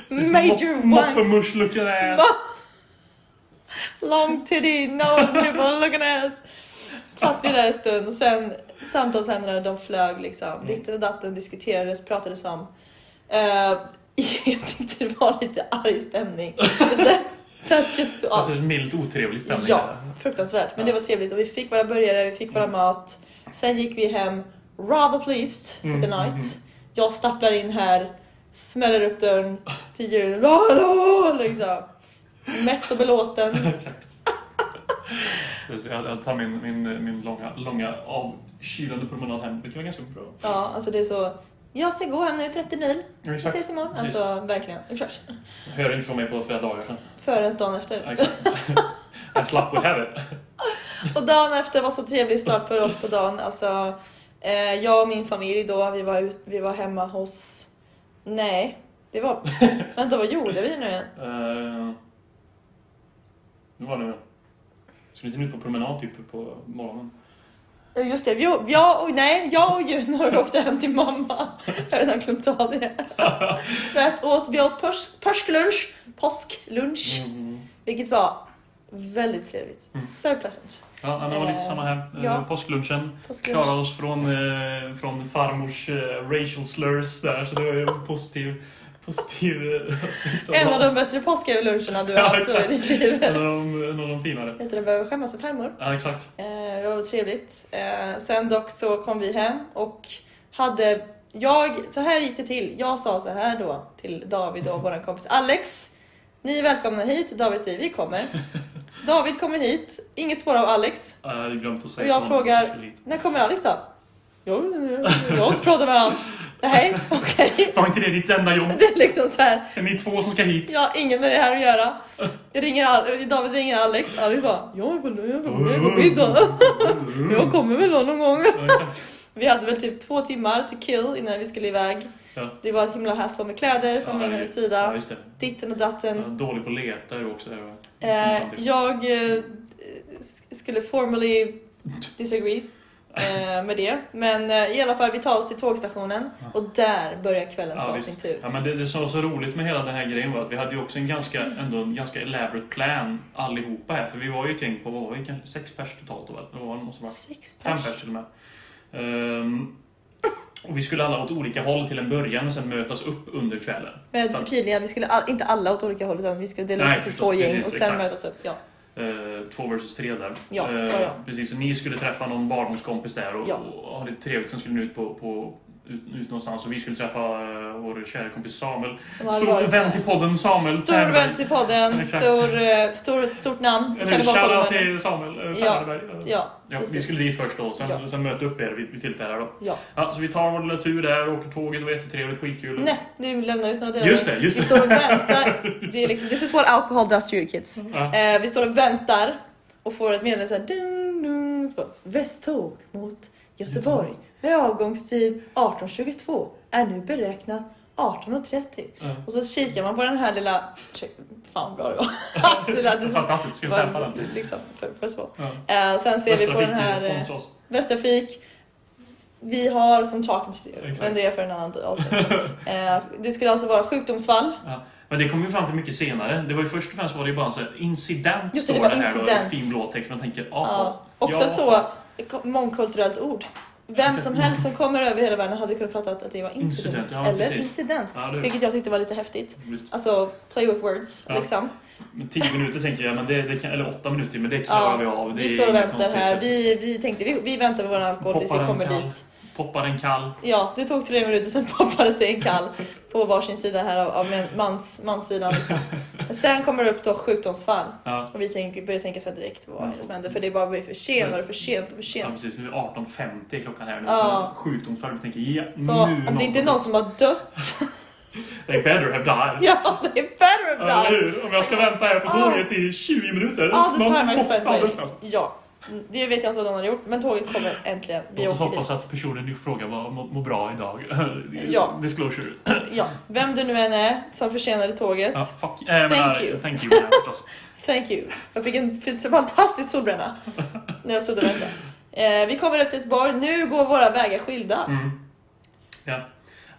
[SPEAKER 2] Major wanks.
[SPEAKER 1] Moppemusch looking ass!
[SPEAKER 2] Va? Long titty, no nipple, look at ass. Satt vi där en stund och sen samtalsämnena de flög liksom. Ditten och datten diskuterades, pratades om. Eh, <laughs> jag tyckte det var lite arg stämning. That- That's just to
[SPEAKER 1] Alltså en
[SPEAKER 2] us.
[SPEAKER 1] milt otrevlig stämning.
[SPEAKER 2] Ja,
[SPEAKER 1] där.
[SPEAKER 2] fruktansvärt. Men det var trevligt och vi fick våra burgare, vi fick våra mat. Sen gick vi hem rather pleased with the
[SPEAKER 1] Mm, mm,
[SPEAKER 2] night. Jag stapplar in här, smäller upp dörren till julen. Hallå! Liksom. Mätt och belåten.
[SPEAKER 1] <laughs> Exakt. Precis, jag, jag tar min, min, min långa, långa avkylande promenad hem. Det kan vara ganska bra.
[SPEAKER 2] Ja, alltså det är så. Jag ska gå hem nu 30 mil.
[SPEAKER 1] Ja,
[SPEAKER 2] Vi ses
[SPEAKER 1] Exakt.
[SPEAKER 2] imorgon.
[SPEAKER 1] Precis.
[SPEAKER 2] Alltså verkligen. Exakt.
[SPEAKER 1] Hörde inte från mig på flera dagar sedan.
[SPEAKER 2] Förrän dagen
[SPEAKER 1] Ja,
[SPEAKER 2] efter.
[SPEAKER 1] Exakt. Jag slapp we have it.
[SPEAKER 2] Och dagen efter var så trevlig start för oss på dagen. Alltså, eh, jag och min familj då, vi var, ut, vi var hemma hos... Nej, det
[SPEAKER 1] <laughs>
[SPEAKER 2] var... Vänta, vad gjorde vi nu igen?
[SPEAKER 1] Eh, Nu var det... Skulle inte ni ut på promenad typ på morgonen?
[SPEAKER 2] Eh, Just det, jag, jag, och, nej, jag och Junior <laughs> åkte hem till mamma. Jag har redan glömt av det.
[SPEAKER 1] <laughs>
[SPEAKER 2] För att åt, vi åt påsk, påsklunch, påsklunch,
[SPEAKER 1] Mm.
[SPEAKER 2] vilket var väldigt trevligt.
[SPEAKER 1] Mm.
[SPEAKER 2] So pleasant.
[SPEAKER 1] Ja, men det var lite
[SPEAKER 2] Eh,
[SPEAKER 1] samma här. Eh,
[SPEAKER 2] ja.
[SPEAKER 1] Påsklunchen.
[SPEAKER 2] Påsklunch.
[SPEAKER 1] Klarade oss från, eh, från farmors eh, racial slurs där, så det var ju en positiv, Fast det är ju...
[SPEAKER 2] En av de bättre påskluncherna du har
[SPEAKER 1] Ja,
[SPEAKER 2] haft
[SPEAKER 1] exakt.
[SPEAKER 2] i ditt liv.
[SPEAKER 1] En av de, en av de finare.
[SPEAKER 2] Vet du, den behöver skämmas för främmor.
[SPEAKER 1] Ja, exakt.
[SPEAKER 2] Eh, det var trevligt. Eh, sen dock så kom vi hem och hade... Jag, så här gick det till. Jag sa så här då till David och vår kompis Alex. Ni är välkomna hit. David säger vi
[SPEAKER 1] <laughs>
[SPEAKER 2] kommer. David kommer hit. Inget spår av Alex.
[SPEAKER 1] Jag hade glömt att säga
[SPEAKER 2] Och jag
[SPEAKER 1] till honom att
[SPEAKER 2] frågar-
[SPEAKER 1] jag skulle hit.
[SPEAKER 2] När kommer Alex då? Jag, vet inte, jag har inte pratat med honom. Nej, okej. <laughs>
[SPEAKER 1] Var inte det ditt enda jobb?
[SPEAKER 2] Det är liksom så här.
[SPEAKER 1] Är ni två som ska hit?
[SPEAKER 2] Jag har inget med det här att göra. Jag ringer Al- David ringer Alex. Alex bara, jag är på, jag är på, jag är på middag. Jag kommer väl då någon gång.
[SPEAKER 1] Ja, exakt.
[SPEAKER 2] Vi hade väl typ två timmar to kill innan vi skulle iväg.
[SPEAKER 1] Ja.
[SPEAKER 2] Det var ett himla hassle med kläder från
[SPEAKER 1] Ja,
[SPEAKER 2] min
[SPEAKER 1] ju- Ja,
[SPEAKER 2] sida.
[SPEAKER 1] just det.
[SPEAKER 2] Ditten och
[SPEAKER 1] Jag är
[SPEAKER 2] datten.
[SPEAKER 1] dålig på att leta är du också. är du?
[SPEAKER 2] Eh, jag eh, s- skulle formally disagree eh, med det. Men eh, i alla fall, vi tar oss till tågstationen och där börjar kvällen
[SPEAKER 1] Ja,
[SPEAKER 2] ta
[SPEAKER 1] visst.
[SPEAKER 2] sin tur.
[SPEAKER 1] Ja, men det, det som var så roligt med hela den här grejen var att vi hade ju också en ganska, ändå en ganska elaborate plan allihopa här. För vi var ju ett gäng på, vad var vi, kanske sex pers totalt då väl? Det var, det måste vara
[SPEAKER 2] Sex
[SPEAKER 1] fem
[SPEAKER 2] pers.
[SPEAKER 1] pers till och med. Ehm, och vi skulle alla åt olika håll till en början och sen mötas upp under kvällen.
[SPEAKER 2] Men Eh, för tydligen, vi skulle all, inte alla åt olika håll utan vi skulle dela
[SPEAKER 1] Nej,
[SPEAKER 2] upp oss i
[SPEAKER 1] förstås,
[SPEAKER 2] två gäng och
[SPEAKER 1] precis,
[SPEAKER 2] sen
[SPEAKER 1] exakt.
[SPEAKER 2] mötas upp. Ja.
[SPEAKER 1] Eh, två versus tre där.
[SPEAKER 2] Ja,
[SPEAKER 1] Eh,
[SPEAKER 2] så ja.
[SPEAKER 1] Precis, så ni skulle träffa någon barndomskompis där och,
[SPEAKER 2] Ja.
[SPEAKER 1] och ha lite trevligt. Sen skulle ni ut, på, på, ut, ut någonstans och vi skulle träffa eh, vår kära kompis Samuel.
[SPEAKER 2] Som har
[SPEAKER 1] Stor
[SPEAKER 2] varit
[SPEAKER 1] vän
[SPEAKER 2] med.
[SPEAKER 1] till podden Samuel.
[SPEAKER 2] Stor vän till podden,
[SPEAKER 1] Exakt.
[SPEAKER 2] stor, eh, stor, stort namn.
[SPEAKER 1] Eller
[SPEAKER 2] Kan
[SPEAKER 1] hur?
[SPEAKER 2] det vara
[SPEAKER 1] Shoutout
[SPEAKER 2] podden?
[SPEAKER 1] till Samuel eh,
[SPEAKER 2] Ja.
[SPEAKER 1] Färberg. Eh,
[SPEAKER 2] Ja,
[SPEAKER 1] Ja, vi
[SPEAKER 2] precis.
[SPEAKER 1] skulle dit först då, sen,
[SPEAKER 2] Ja.
[SPEAKER 1] sen möta upp er vid, vid tillfälle. här Då.
[SPEAKER 2] Ja.
[SPEAKER 1] Ja, så vi tar vår lilla tur där, åker tåget, det var jättetrevligt, skitkul.
[SPEAKER 2] Nej, nu lämnar vi ut några delar.
[SPEAKER 1] Just det, just
[SPEAKER 2] vi <laughs>
[SPEAKER 1] det.
[SPEAKER 2] står och väntar. Det är liksom, this is what alcohol does to your kids.
[SPEAKER 1] Ja.
[SPEAKER 2] Eh, vi står och väntar och får ett meddelande såhär dun, dun, så bara, Västtåg mot Göteborg med avgångstid 18.22 är nu beräknat 18.30.
[SPEAKER 1] Ja.
[SPEAKER 2] Och så kikar man på den här lilla... Fan vad bra det
[SPEAKER 1] <laughs>
[SPEAKER 2] var. det lät
[SPEAKER 1] Det
[SPEAKER 2] ju som...
[SPEAKER 1] är fantastiskt, ska jag släppa den?
[SPEAKER 2] Liksom, för, för så.
[SPEAKER 1] Ja.
[SPEAKER 2] Eh, sen ser vi på den
[SPEAKER 1] Västra
[SPEAKER 2] här...
[SPEAKER 1] fick
[SPEAKER 2] eh,
[SPEAKER 1] sponsra oss.
[SPEAKER 2] Västerfik. Vi har som talking to do,
[SPEAKER 1] Exakt.
[SPEAKER 2] men det är för en annan avsnitt.
[SPEAKER 1] <laughs>
[SPEAKER 2] eh, det skulle alltså vara sjukdomsfall.
[SPEAKER 1] Ja. Men det kom ju fram till mycket senare. Det var ju först och främst var det ju bara en sån här incident
[SPEAKER 2] Just det,
[SPEAKER 1] står
[SPEAKER 2] det
[SPEAKER 1] det,
[SPEAKER 2] var
[SPEAKER 1] här då,
[SPEAKER 2] incident.
[SPEAKER 1] i fin blåtext. Man tänker,
[SPEAKER 2] Ja.
[SPEAKER 1] ja.
[SPEAKER 2] Också
[SPEAKER 1] ja.
[SPEAKER 2] ett så mångkulturellt ord. Vem som helst som kommer över hela världen hade kunnat fatta att det var incident,
[SPEAKER 1] Incident, ja,
[SPEAKER 2] eller
[SPEAKER 1] precis.
[SPEAKER 2] incident.
[SPEAKER 1] Ja, det,
[SPEAKER 2] Vilket jag tyckte var lite häftigt.
[SPEAKER 1] visst.
[SPEAKER 2] Alltså, play with words
[SPEAKER 1] Ja.
[SPEAKER 2] liksom.
[SPEAKER 1] Men tio minuter tänker jag, men det, det kan, eller åtta minuter, men det klarar
[SPEAKER 2] Ja,
[SPEAKER 1] vi av. Det
[SPEAKER 2] vi
[SPEAKER 1] är
[SPEAKER 2] står och
[SPEAKER 1] inga
[SPEAKER 2] väntar här.
[SPEAKER 1] konstigheter.
[SPEAKER 2] Vi, vi tänkte vi, vi väntar på vår alkohol tills vi
[SPEAKER 1] Poppar en
[SPEAKER 2] kommer
[SPEAKER 1] kall.
[SPEAKER 2] dit.
[SPEAKER 1] Poppar en kall.
[SPEAKER 2] Ja, det tog tre minuter, sen <laughs> poppades det en kall på varsin sida här av, av män- mans, manssidan.
[SPEAKER 1] <laughs>
[SPEAKER 2] Liksom. Men Sen kommer det upp då sjukdomsfall.
[SPEAKER 1] Ja.
[SPEAKER 2] Och vi tänker, börjar tänka så här direkt vad är det som händer. För det är bara blir för sent och det är för sent och för
[SPEAKER 1] Ja,
[SPEAKER 2] sent.
[SPEAKER 1] precis. Nu är det 18.50 klockan här. Nu.
[SPEAKER 2] Ja.
[SPEAKER 1] Sjukdomsfall. Vi tänker, ja,
[SPEAKER 2] Så
[SPEAKER 1] nu
[SPEAKER 2] om det inte är någon som har dött,
[SPEAKER 1] They better have died.
[SPEAKER 2] ja det är better
[SPEAKER 1] Ja,
[SPEAKER 2] of
[SPEAKER 1] eller
[SPEAKER 2] that!
[SPEAKER 1] hur? Om jag ska vänta här på
[SPEAKER 2] Ah.
[SPEAKER 1] tåget i 20 minuter. alltså,
[SPEAKER 2] All the
[SPEAKER 1] man
[SPEAKER 2] time I
[SPEAKER 1] måste
[SPEAKER 2] spent
[SPEAKER 1] ha
[SPEAKER 2] waiting.
[SPEAKER 1] väntat.
[SPEAKER 2] Ja, det vet jag inte vad någon har gjort. Men tåget kommer äntligen. Vi
[SPEAKER 1] Låt oss
[SPEAKER 2] åker
[SPEAKER 1] hoppas
[SPEAKER 2] dit.
[SPEAKER 1] att personen du frågar var, mår mår bra idag.
[SPEAKER 2] <laughs> Ja.
[SPEAKER 1] Disclosure.
[SPEAKER 2] Ja, vem du nu än är som försenade tåget,
[SPEAKER 1] Ja, fuck. Äh, jag
[SPEAKER 2] Thank
[SPEAKER 1] menar,
[SPEAKER 2] you.
[SPEAKER 1] Thank you. ja, förstås.
[SPEAKER 2] Thank you. Jag fick en fin- fantastisk solbränna när jag stod och väntade. Eh, vi kommer upp till Göteborg. Nu går våra vägar skilda.
[SPEAKER 1] Mm. Ja.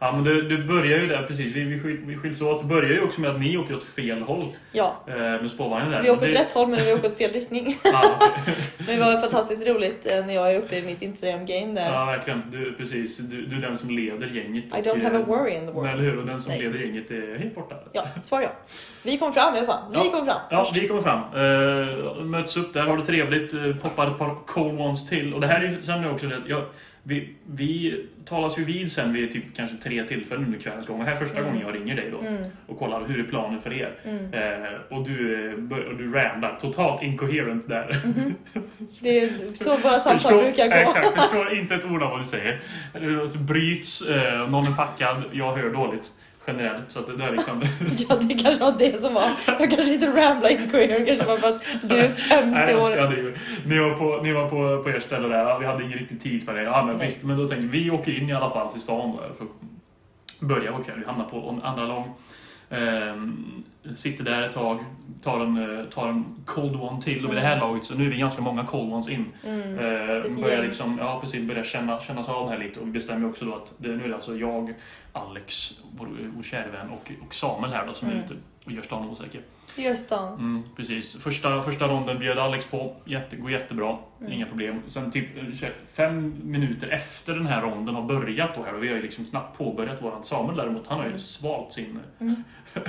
[SPEAKER 1] ja, men det, det börjar ju där precis. Vi, vi, skil, vi skiljs åt. Det börjar ju också med att ni åker åt fel håll
[SPEAKER 2] Ja,
[SPEAKER 1] eh, med spårvagnen där.
[SPEAKER 2] vi åker
[SPEAKER 1] Men
[SPEAKER 2] åt
[SPEAKER 1] det-
[SPEAKER 2] rätt håll men vi åker åt fel riktning.
[SPEAKER 1] Ja, okej.
[SPEAKER 2] Men det var fantastiskt roligt eh, när jag är uppe i mitt Instagram-game där.
[SPEAKER 1] ja, verkligen. Du, precis. Du, du är den som leder gänget. eh,
[SPEAKER 2] I don't have a worry in the
[SPEAKER 1] Nej,
[SPEAKER 2] world.
[SPEAKER 1] Eller hur? Och den som
[SPEAKER 2] Nej.
[SPEAKER 1] leder gänget är helt borta.
[SPEAKER 2] Ja, svar ja. Vi kom fram i alla fall. Vi
[SPEAKER 1] Ja.
[SPEAKER 2] kom fram.
[SPEAKER 1] Ja, vi kommer fram. Eh, möts upp där, har det trevligt, eh, poppar ett par cold ones till. Och det här är ju sen också det, jag, vi, vi talas ju vid sen vid typ kanske tre tillfällen under kvällens gång. Och här är första gången jag ringer dig då
[SPEAKER 2] Mm,
[SPEAKER 1] och kollar hur är planen för er.
[SPEAKER 2] mm.
[SPEAKER 1] Eh, och du, eh, bör- och du ramlar totalt
[SPEAKER 2] <laughs>
[SPEAKER 1] incoherent där.
[SPEAKER 2] Det är så våra samtal
[SPEAKER 1] Förstår-
[SPEAKER 2] brukar gå.
[SPEAKER 1] Exakt, förstår inte ett ord av vad du säger. Eh, Så bryts, eh, någon är packad, jag hör dåligt. Generellt, så att det där är liksom...
[SPEAKER 2] <laughs> Ja, det kanske var det som var. Jag kanske inte ramlade in career. Det kanske var för att du är 50
[SPEAKER 1] Nej, jag
[SPEAKER 2] år.
[SPEAKER 1] ska driva. Ni var, på, ni var på, på er ställe där, ja, vi hade ingen riktig tid för det. Ja, men
[SPEAKER 2] Nej.
[SPEAKER 1] visst, men då tänkte vi, vi åker in i alla fall till stan då, för att börja vår kväll. Vi hamnar på en andra lång. Ehm, Sitter där ett tag, tar en, eh, tar en cold one till och vid det här laget så nu är vi ganska många cold ones in.
[SPEAKER 2] Mm.
[SPEAKER 1] Eh,
[SPEAKER 2] Ett
[SPEAKER 1] börjar
[SPEAKER 2] gäng.
[SPEAKER 1] liksom, ja precis, börjar känna, kännas av här lite och bestämmer också då att det, nu är det alltså jag, Alex, vår, vår kära vän och, och Samuel här då som är
[SPEAKER 2] Mm.
[SPEAKER 1] ute och gör stan osäker.
[SPEAKER 2] Just det.
[SPEAKER 1] Mm, precis. Första, första ronden bjöd Alex på, Jätte, går jättebra,
[SPEAKER 2] Mm.
[SPEAKER 1] inga problem. Sen typ eh, tjugo- fem minuter efter den här ronden har börjat då här och vi har ju liksom knappt påbörjat våran Samuel däremot, han har ju
[SPEAKER 2] Mm.
[SPEAKER 1] svalt sin
[SPEAKER 2] Mm.
[SPEAKER 1] <laughs>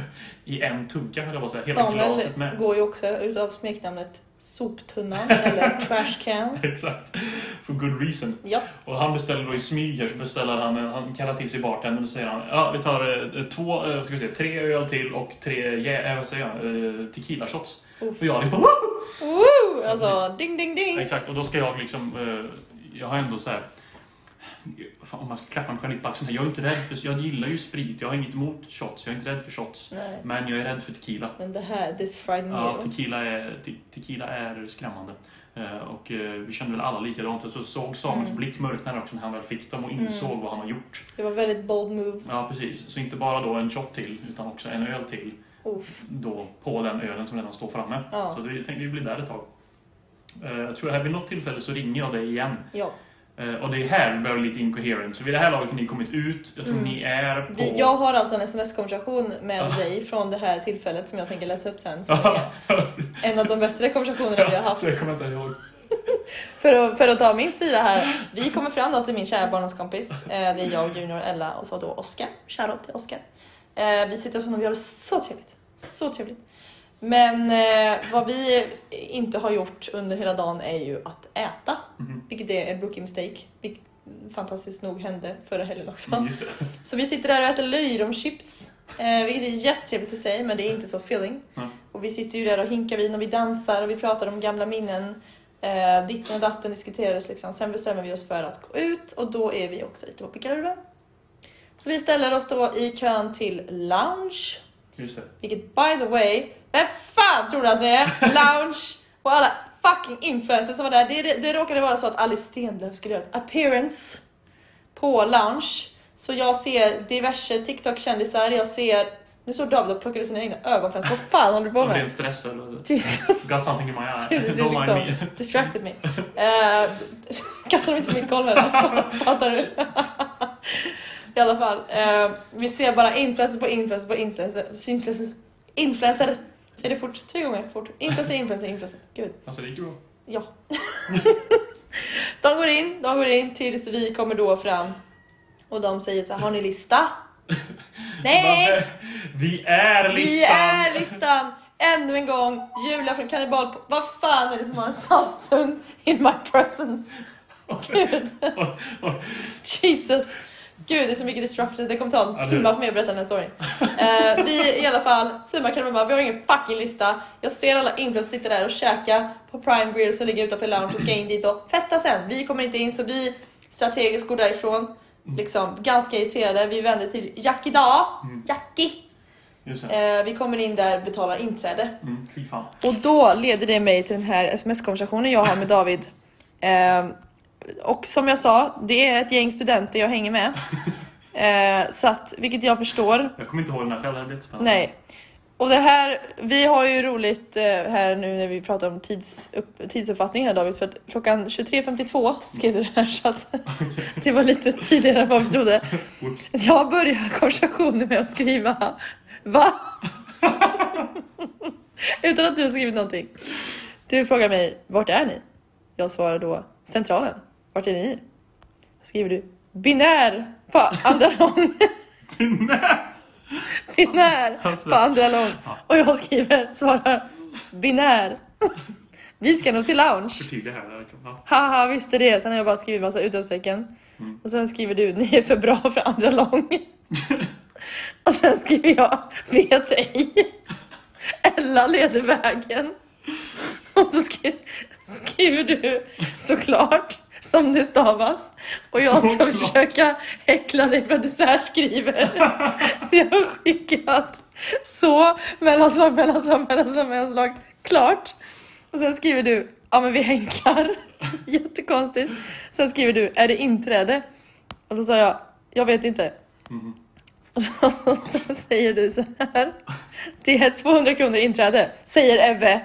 [SPEAKER 1] i en tugga höll jag på att säga, hela
[SPEAKER 2] Samuel
[SPEAKER 1] glaset med. <laughs>
[SPEAKER 2] går ju också utav smeknamnet soptunnan eller trashcan.
[SPEAKER 1] Exakt. For good reason.
[SPEAKER 2] Ja,
[SPEAKER 1] Och han beställer då i smyg här, så beställer han, eh, han kallar till sig bartendern och säger han ja, vi tar eh, två, eh, vad ska vi säga, tre öl till och tre, jä- eh, vad säger jag, eh, tequila shots.
[SPEAKER 2] Uff.
[SPEAKER 1] Och jag liksom <laughs>
[SPEAKER 2] Woo! Alltså ding ding ding.
[SPEAKER 1] Exakt, och då ska jag liksom... eh, jag har ändå så här... Fan, om man ska klappa mig själv i axeln här. Jag är inte rädd för... Jag gillar ju sprit. Jag har inget emot shots. Jag är inte rädd för shots.
[SPEAKER 2] Nej.
[SPEAKER 1] Men jag är rädd för tequila.
[SPEAKER 2] Men det här, this fried
[SPEAKER 1] Ja,
[SPEAKER 2] meal.
[SPEAKER 1] typ. tequila är, te, tequila är skrämmande. Eh, och eh, vi kände väl alla likadant. Och så såg Samuels
[SPEAKER 2] Mm.
[SPEAKER 1] blick mörkna också när han väl fick dem och insåg
[SPEAKER 2] Mm.
[SPEAKER 1] vad han har gjort.
[SPEAKER 2] Det var väldigt bold move.
[SPEAKER 1] Ja, precis. Så inte bara då en shot till, utan också en öl till
[SPEAKER 2] Uff.
[SPEAKER 1] då på den ölen som redan står framme.
[SPEAKER 2] Ja.
[SPEAKER 1] Så vi tänkte vi blir där ett tag. Eh, jag tror att vid något tillfälle så ringer jag dig igen
[SPEAKER 2] Ja.
[SPEAKER 1] Eh, Och det är här vi börjar bli lite incoherent. Så vid det här laget har ni kommit ut. Jag tror
[SPEAKER 2] Mm.
[SPEAKER 1] ni är på...
[SPEAKER 2] Vi,
[SPEAKER 1] <laughs>
[SPEAKER 2] jag har alltså en sms-konversation med
[SPEAKER 1] Ah.
[SPEAKER 2] dig från det här tillfället som jag tänker läsa upp sen.
[SPEAKER 1] <laughs>
[SPEAKER 2] Som är en av de bättre konversationerna vi har haft.
[SPEAKER 1] Så jag kommer inte ihåg.
[SPEAKER 2] För att, för att ta min sida här. Vi kommer fram då till min kära barndomskompis. Eh, Det är jag, Junior, Ella och så då Oskar. Shoutout till Oskar. Eh, Vi sitter hos honom och vi har det så trevligt. Så trevligt. Men eh, vad vi inte har gjort under hela dagen är ju att äta.
[SPEAKER 1] Mhm.
[SPEAKER 2] Vilket är en rookie mistake. Vilket fantastiskt nog hände förra helgen också.
[SPEAKER 1] Mm, Just det.
[SPEAKER 2] Så vi sitter där och äter löjromschips. Eh, vilket är jättetrevligt i sig, men det är inte så filling.
[SPEAKER 1] Nej.
[SPEAKER 2] Och vi sitter ju där och hinkar vin och vi dansar och vi pratar om gamla minnen. Eh, ditten och datten diskuterades liksom. Sen bestämmer vi oss för att gå ut och då är vi också lite på pickaluren. Så vi ställer oss då i kön till lounge.
[SPEAKER 1] Just det.
[SPEAKER 2] Vilket by the way, vem fan tror du att det är? Lounge och alla fucking influencers som var där. Det, det råkade vara så att Alice Stenlöf skulle göra ett appearance på Lounge. Så jag ser diverse TikTok-kändisar, jag ser... Nu står David och plockar ut sina egna ögonfransar. Vad fan håller du på
[SPEAKER 1] Jag blev
[SPEAKER 2] med?
[SPEAKER 1] en stress eller...
[SPEAKER 2] Jesus.
[SPEAKER 1] Got something in my
[SPEAKER 2] <laughs>
[SPEAKER 1] eye.
[SPEAKER 2] Du
[SPEAKER 1] <laughs>
[SPEAKER 2] du
[SPEAKER 1] Don't mind
[SPEAKER 2] liksom
[SPEAKER 1] me.
[SPEAKER 2] distracted me. Uh, <laughs> kastar dem inte på mitt golv eller? Fattar du? I alla fall. eh, vi ser bara influencer på influencer på influencer. Influencer. influencer. Säg det fort. Tre gånger fort. Influencer, influencer, influencer. Gud.
[SPEAKER 1] Alltså det gick ju bra.
[SPEAKER 2] Ja. <laughs> de går in, de går in tills vi kommer då fram. Och de säger så här, har ni lista? Nej!
[SPEAKER 1] eh, Vi är
[SPEAKER 2] Vi
[SPEAKER 1] listan! <laughs>
[SPEAKER 2] är listan! Ännu en gång, Julia från Kannibal... Vad fan är det som har en Samsung in my presence? Gud! <laughs> Jesus! Gud, det är så mycket disrupted. Det kommer ta
[SPEAKER 1] Ja,
[SPEAKER 2] en
[SPEAKER 1] du-
[SPEAKER 2] timme för mig att berätta den här storyn. Eh, vi i alla fall, summa kardemumma, vi har ingen fucking lista. Jag ser alla influencers sitta där och käka på Prime Grill som ligger utanför lounge och ska in dit och festa sen. Vi kommer inte in så vi strategiskt går därifrån. Liksom, ganska irriterade. Vi vänder till Jackie dag.
[SPEAKER 1] Mm.
[SPEAKER 2] Jackie!
[SPEAKER 1] Just det.
[SPEAKER 2] Eh, vi kommer in där, betalar inträde.
[SPEAKER 1] Mm, fy fan.
[SPEAKER 2] Och då leder det mig till den här sms-konversationen jag har med David. Eh, och som jag sa, det är ett gäng studenter jag hänger med. Eh, så att, vilket jag förstår.
[SPEAKER 1] Jag kommer inte ihåg den här själv. Det här blir jättespännande. <laughs>
[SPEAKER 2] Nej. Och det här, vi har ju roligt eh, här nu när vi pratar om tids, upp, tidsuppfattningen här David, för att klockan 23.52 skrev du det här så att <laughs> det var lite tidigare än vad vi trodde.
[SPEAKER 1] <laughs> Whoops.
[SPEAKER 2] Jag börjar konversationen med att skriva Va? Utan att du har skrivit någonting. Du frågar mig, vart är ni? Jag svarar då, centralen. Vart är ni? Så skriver du, binär på andra lång.
[SPEAKER 1] Nej.
[SPEAKER 2] Binär på andra lång. Och jag skriver, svarar, binär. Vi ska nog till lounge.
[SPEAKER 1] Förtydliga här. verkligen. <laughs> Ja.
[SPEAKER 2] Haha, visste det. Sen har jag bara skrivit massa utropstecken.
[SPEAKER 1] Mm.
[SPEAKER 2] Och sen skriver du, ni är för bra för andra lång. och sen skriver jag, vet ej. Ella leder vägen. Och så skri- skriver du, såklart, som det stavas. Och jag ska
[SPEAKER 1] Såklart.
[SPEAKER 2] försöka häckla dig för att du särskriver. <laughs> så jag har skickat så, mellanslag, mellanslag, mellanslag, mellanslag, klart. Och sen skriver du, ja men vi hänkar. <laughs> Jättekonstigt. <laughs> Sen skriver du, är det inträde? Och då sa jag, jag vet inte.
[SPEAKER 1] Mhm.
[SPEAKER 2] Och så säger du så här. Det är 200 kronor inträde, säger Ebbe.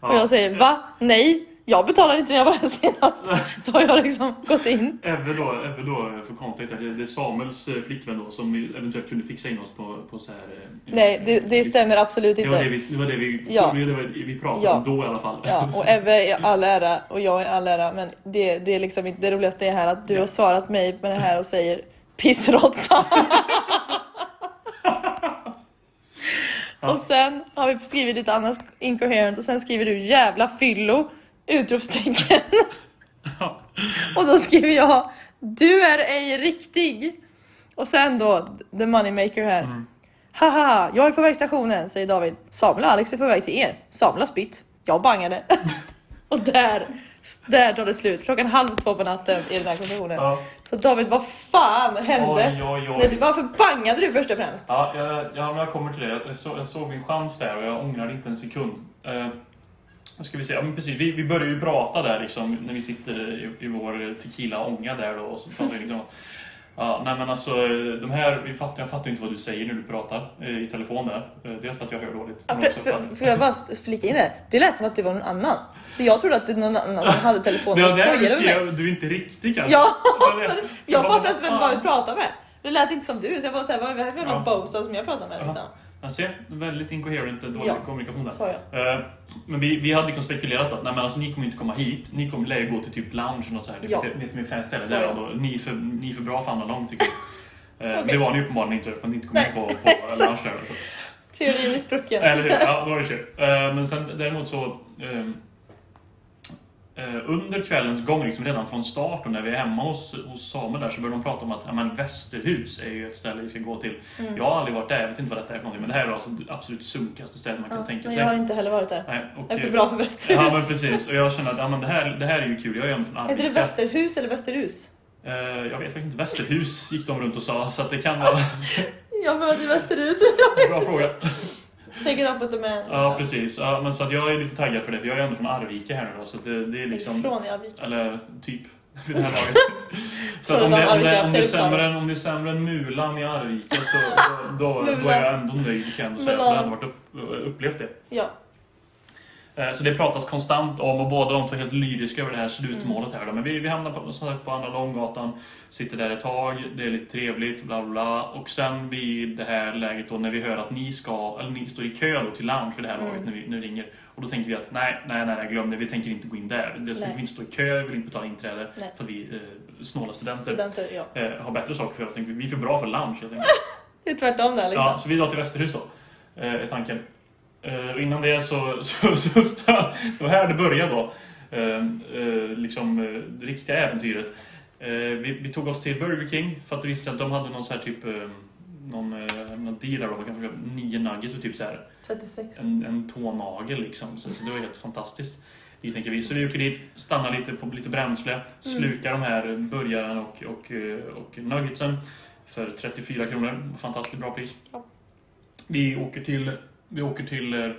[SPEAKER 2] Och jag säger va? Nej, jag betalade inte när jag var här senast. Då har jag liksom gått in.
[SPEAKER 1] Ebbe då, Ebbe då för konstigt, det det är Samuels eh, flickvän då som eventuellt kunde fixa in oss på, på så här... eh,
[SPEAKER 2] Nej, det, det stämmer absolut
[SPEAKER 1] Det var det
[SPEAKER 2] inte.
[SPEAKER 1] vi, det var det vi,
[SPEAKER 2] Ja.
[SPEAKER 1] det var det vi pratade
[SPEAKER 2] Ja.
[SPEAKER 1] om då i alla fall.
[SPEAKER 2] Ja, och Ebbe är all ära och jag är all ära men det, det är liksom inte det roligaste är här att du har svarat mig med det här och säger pissrotta. Och sen har vi skrivit lite annat incoherent och sen skriver du jävla fyllo! Utropstecken.
[SPEAKER 1] <laughs> Ja.
[SPEAKER 2] Och då skriver jag Du är ej riktig! Och sen då, the moneymaker här.
[SPEAKER 1] Mm.
[SPEAKER 2] Haha, jag är på vägstationen, säger David. Samuel och Alex är på väg till er. Samuel har spytt. Jag bangade. <laughs> och där, där tar det slut. Klockan halv två på natten i den här konversationen.
[SPEAKER 1] Ja.
[SPEAKER 2] Så David, vad fan hände?
[SPEAKER 1] Oj, oj, oj.
[SPEAKER 2] Nej, du- Varför bangade du först och främst?
[SPEAKER 1] Ja, jag, ja, men jag kommer till det. Jag, så, jag såg min chans där och jag ångrar inte en sekund. Eh, vad ska vi säga? Ja, men precis. Vi, vi börjar ju prata där liksom, när vi sitter i, i vår tequila-ånga där då. Och så pratar
[SPEAKER 2] <laughs>
[SPEAKER 1] vi liksom, ja, nej, men alltså, de här, vi fattar, jag fattar ju inte vad du säger när du pratar eh, i telefon där. Eh, dels för att jag hör dåligt.
[SPEAKER 2] Ja,
[SPEAKER 1] men
[SPEAKER 2] för,
[SPEAKER 1] också att-
[SPEAKER 2] för, får jag bara flika in det? Det lät som att det var någon annan. Så jag trodde att det var någon annan som hade
[SPEAKER 1] det
[SPEAKER 2] telefonen och
[SPEAKER 1] var där du
[SPEAKER 2] skojade med mig.
[SPEAKER 1] skrev, du är inte riktig kanske? <laughs>
[SPEAKER 2] Ja,
[SPEAKER 1] Det var det.
[SPEAKER 2] Jag
[SPEAKER 1] bara,
[SPEAKER 2] fattade inte vem det
[SPEAKER 1] vad
[SPEAKER 2] var
[SPEAKER 1] fan?
[SPEAKER 2] vi pratade med. Det lät inte som du, så jag bara såhär, vad är det här för jävla
[SPEAKER 1] Ja.
[SPEAKER 2] bosa som jag pratar med liksom?
[SPEAKER 1] Jag ser, väldigt incoherent, dålig
[SPEAKER 2] Ja.
[SPEAKER 1] kommunikation där.
[SPEAKER 2] Sa jag.
[SPEAKER 1] Eh, Men vi, vi hade liksom spekulerat att nej, men alltså, ni kommer inte komma hit. Ni kommer lär ju gå till typ lounge och så här.
[SPEAKER 2] Ja.
[SPEAKER 1] Ja. Lite, lite mer fanställe
[SPEAKER 2] Så
[SPEAKER 1] där.
[SPEAKER 2] ja.
[SPEAKER 1] och Då, ni, är för, ni är för bra för andra lång tycker jag. Eh,
[SPEAKER 2] Okej.
[SPEAKER 1] Det var ni uppenbarligen inte eftersom ni inte kom in på,
[SPEAKER 2] <laughs>
[SPEAKER 1] på lounge där. Så.
[SPEAKER 2] Teorin är sprucken.
[SPEAKER 1] Eller hur? Ja, då var det kört. Eh, Men sen däremot så... ehm, eh, under kvällens gång, liksom redan från start och när vi är hemma hos, hos Samuel där så börjar de prata om att ja, men Västerhus är ju ett ställe vi ska gå till.
[SPEAKER 2] Mm.
[SPEAKER 1] Jag har aldrig varit där, jag vet inte vad detta är för någonting. Men det här är alltså det absolut sunkigaste stället man kan
[SPEAKER 2] Ja,
[SPEAKER 1] tänka
[SPEAKER 2] men
[SPEAKER 1] sig.
[SPEAKER 2] jag har inte heller varit där.
[SPEAKER 1] Nej, och,
[SPEAKER 2] Jag är för
[SPEAKER 1] eh,
[SPEAKER 2] bra för Västerhus.
[SPEAKER 1] Ja men precis, och jag känner att ja, men det, här, det här är ju kul, jag är ändå från Arvika.
[SPEAKER 2] Heter det Västerhus eller Västerhus?
[SPEAKER 1] Eh, jag vet faktiskt inte, Västerhus gick de runt och sa, så att det kan vara
[SPEAKER 2] Jag var i Västerhus. <laughs>
[SPEAKER 1] en bra fråga.
[SPEAKER 2] Take it up with the man. Liksom.
[SPEAKER 1] Ja precis, ja, men så att jag är lite taggad för det, för jag är ändå från Arvika här nu då, så att det, det är liksom...
[SPEAKER 2] Från Arvika.
[SPEAKER 1] Eller typ, vid
[SPEAKER 2] <laughs>
[SPEAKER 1] det här laget. Så att om det, om, det, om, det är sämre, än- om det är sämre än Mulan i Arvika så då, då, då är jag ändå nöjd kan jag ändå säga, för jag har ändå varit upp, upplevt det.
[SPEAKER 2] Ja.
[SPEAKER 1] Eh, Så det pratas konstant om och båda de två är helt lyriska över det här slutmålet
[SPEAKER 2] Mm.
[SPEAKER 1] här då. Men vi, vi hamnar på, som sagt, på Andra Långgatan, sitter där ett tag, det är lite trevligt, bla bla bla. Och sen vid det här läget då när vi hör att ni ska, eller ni står i kö då till lounge för det här
[SPEAKER 2] Mm.
[SPEAKER 1] laget när vi, när vi ringer. Och då tänker vi att nej, nej, nej, nej glöm det, vi tänker inte gå in där. Det vi
[SPEAKER 2] Nej.
[SPEAKER 1] vill inte stå i kö, vi vill inte betala inträde
[SPEAKER 2] Nej.
[SPEAKER 1] för att vi eh, snåla studenter
[SPEAKER 2] Studenter, ja.
[SPEAKER 1] eh, har bättre saker för oss. Tänker vi, vi är för bra för lounge helt enkelt.
[SPEAKER 2] Det är tvärtom där liksom.
[SPEAKER 1] Ja, så vi drar till Västerhus då, eh, är tanken. Eh, och innan det så, <laughs> så, så sta- det var här det började då, eh, eh, liksom eh, det riktiga äventyret. Eh, vi, vi tog oss till Burger King för att det visade sig att de hade någon så här typ eh, någon, eh, någon deal där då, man kan få köpa nio nuggets och typ så här
[SPEAKER 2] 36.
[SPEAKER 1] en, en tånagel liksom. Så, så det var helt fantastiskt. Vi tänker vi. Så vi åker dit, stannar lite på lite bränsle, slukar de här burgaren och, och, eh, och nuggetsen för 34 kronor. Fantastiskt bra pris.
[SPEAKER 2] Ja.
[SPEAKER 1] Vi åker till, vi åker till eh,